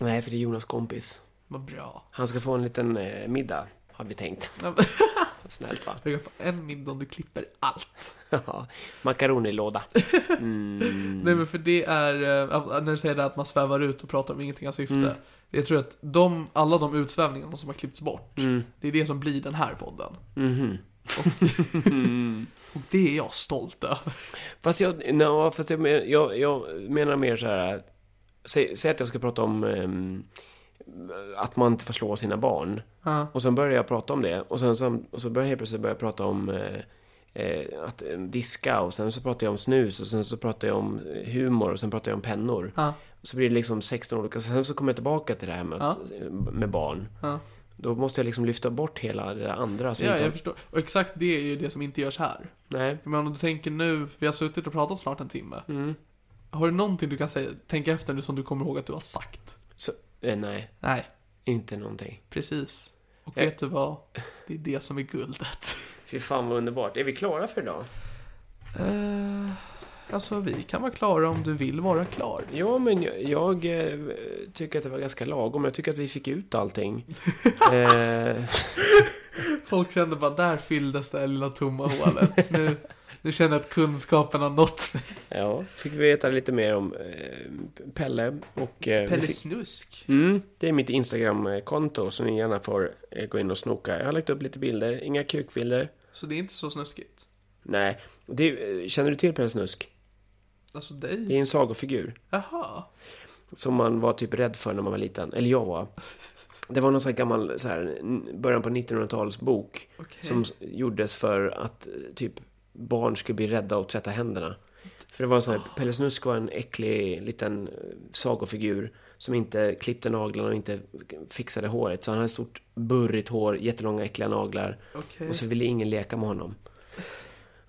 B: Nej, för det är Jonas kompis.
A: Vad bra.
B: Han ska få en liten eh, middag, har vi tänkt.
A: Ja, men-
B: (laughs) Snällt va? (laughs)
A: Du kan få en middag om du klipper allt.
B: Ja, Makaronilåda. Mm.
A: Nej men för det är, eh, när du säger det här att man svävar ut och pratar om ingenting har syfte.
B: Mm.
A: Jag tror att de, alla de utsvävningarna som har klippts bort, det är det som blir den här podden.
B: Mm. Mhm. (laughs) Mm.
A: Och det är jag stolt över.
B: Fast jag, no, fast jag, men- jag, jag menar mer så här. Säg, säg att jag ska prata om ehm, att man inte får slå sina barn.
A: Ja.
B: Och sen började jag prata om det. Och sen så, och så började jag helt plötsligt börja prata om eh, eh, att eh, diska. Och sen så pratade jag om snus. Och sen så pratade jag om eh, humor. Och sen pratade jag om pennor.
A: Ja.
B: Så blir det liksom 16 olika. Sen så kommer jag tillbaka till det här med,
A: Ja.
B: med barn.
A: Ja.
B: Då måste jag liksom lyfta bort hela det där andra. Som
A: Ja,
B: inte...
A: jag förstår. Och exakt det är ju det som inte görs här.
B: Nej.
A: Men om du tänker nu, vi har suttit och pratat snart en timme.
B: Mm.
A: Har du någonting du kan säga, tänka efter nu som du kommer ihåg att du har sagt?
B: Så, eh, nej,
A: Nej,
B: inte någonting.
A: precis. Och
B: Ja.
A: vet du vad? Det är det som är guldet.
B: Fy fan vad underbart. Är vi klara för idag?
A: (laughs) Eh, alltså, vi kan vara klara om du vill vara klar.
B: Ja, men jag, jag eh, tycker att det var ganska lagom. Jag tycker att vi fick ut (laughs) allting. eh,
A: Folk kände bara, där fylldes det här lilla tomma (laughs) hålet. Nu, nu känner jag att kunskapen har nått mig.
B: Ja, fick vi veta lite mer om eh, Pelle och... Eh, vi fick-
A: Snusk.
B: Mm, det är mitt Instagram-konto så ni gärna får eh, gå in och snoka. Jag har lagt upp lite bilder, inga kukbilder.
A: Så det är inte så snuskigt.
B: Nej, det, eh, känner du till Pelle Snusk?
A: Alltså
B: Det
A: dig?
B: är en sagofigur
A: Jaha.
B: som man var typ rädd för när man var liten. Eller jag var. Det var någon sån här gammal, så här, n- början på 1900-talsbok
A: Okej.
B: som s- gjordes för att eh, typ barn skulle bli rädda och tvätta händerna. För det var en sån här,
A: Ah.
B: Pelle Snusk var en äcklig liten eh, sagofigur som inte klippte naglarna och inte fixade håret. Så han hade stort burrigt hår, jättelånga äckliga naglar.
A: Okej.
B: Och så ville ingen leka med honom.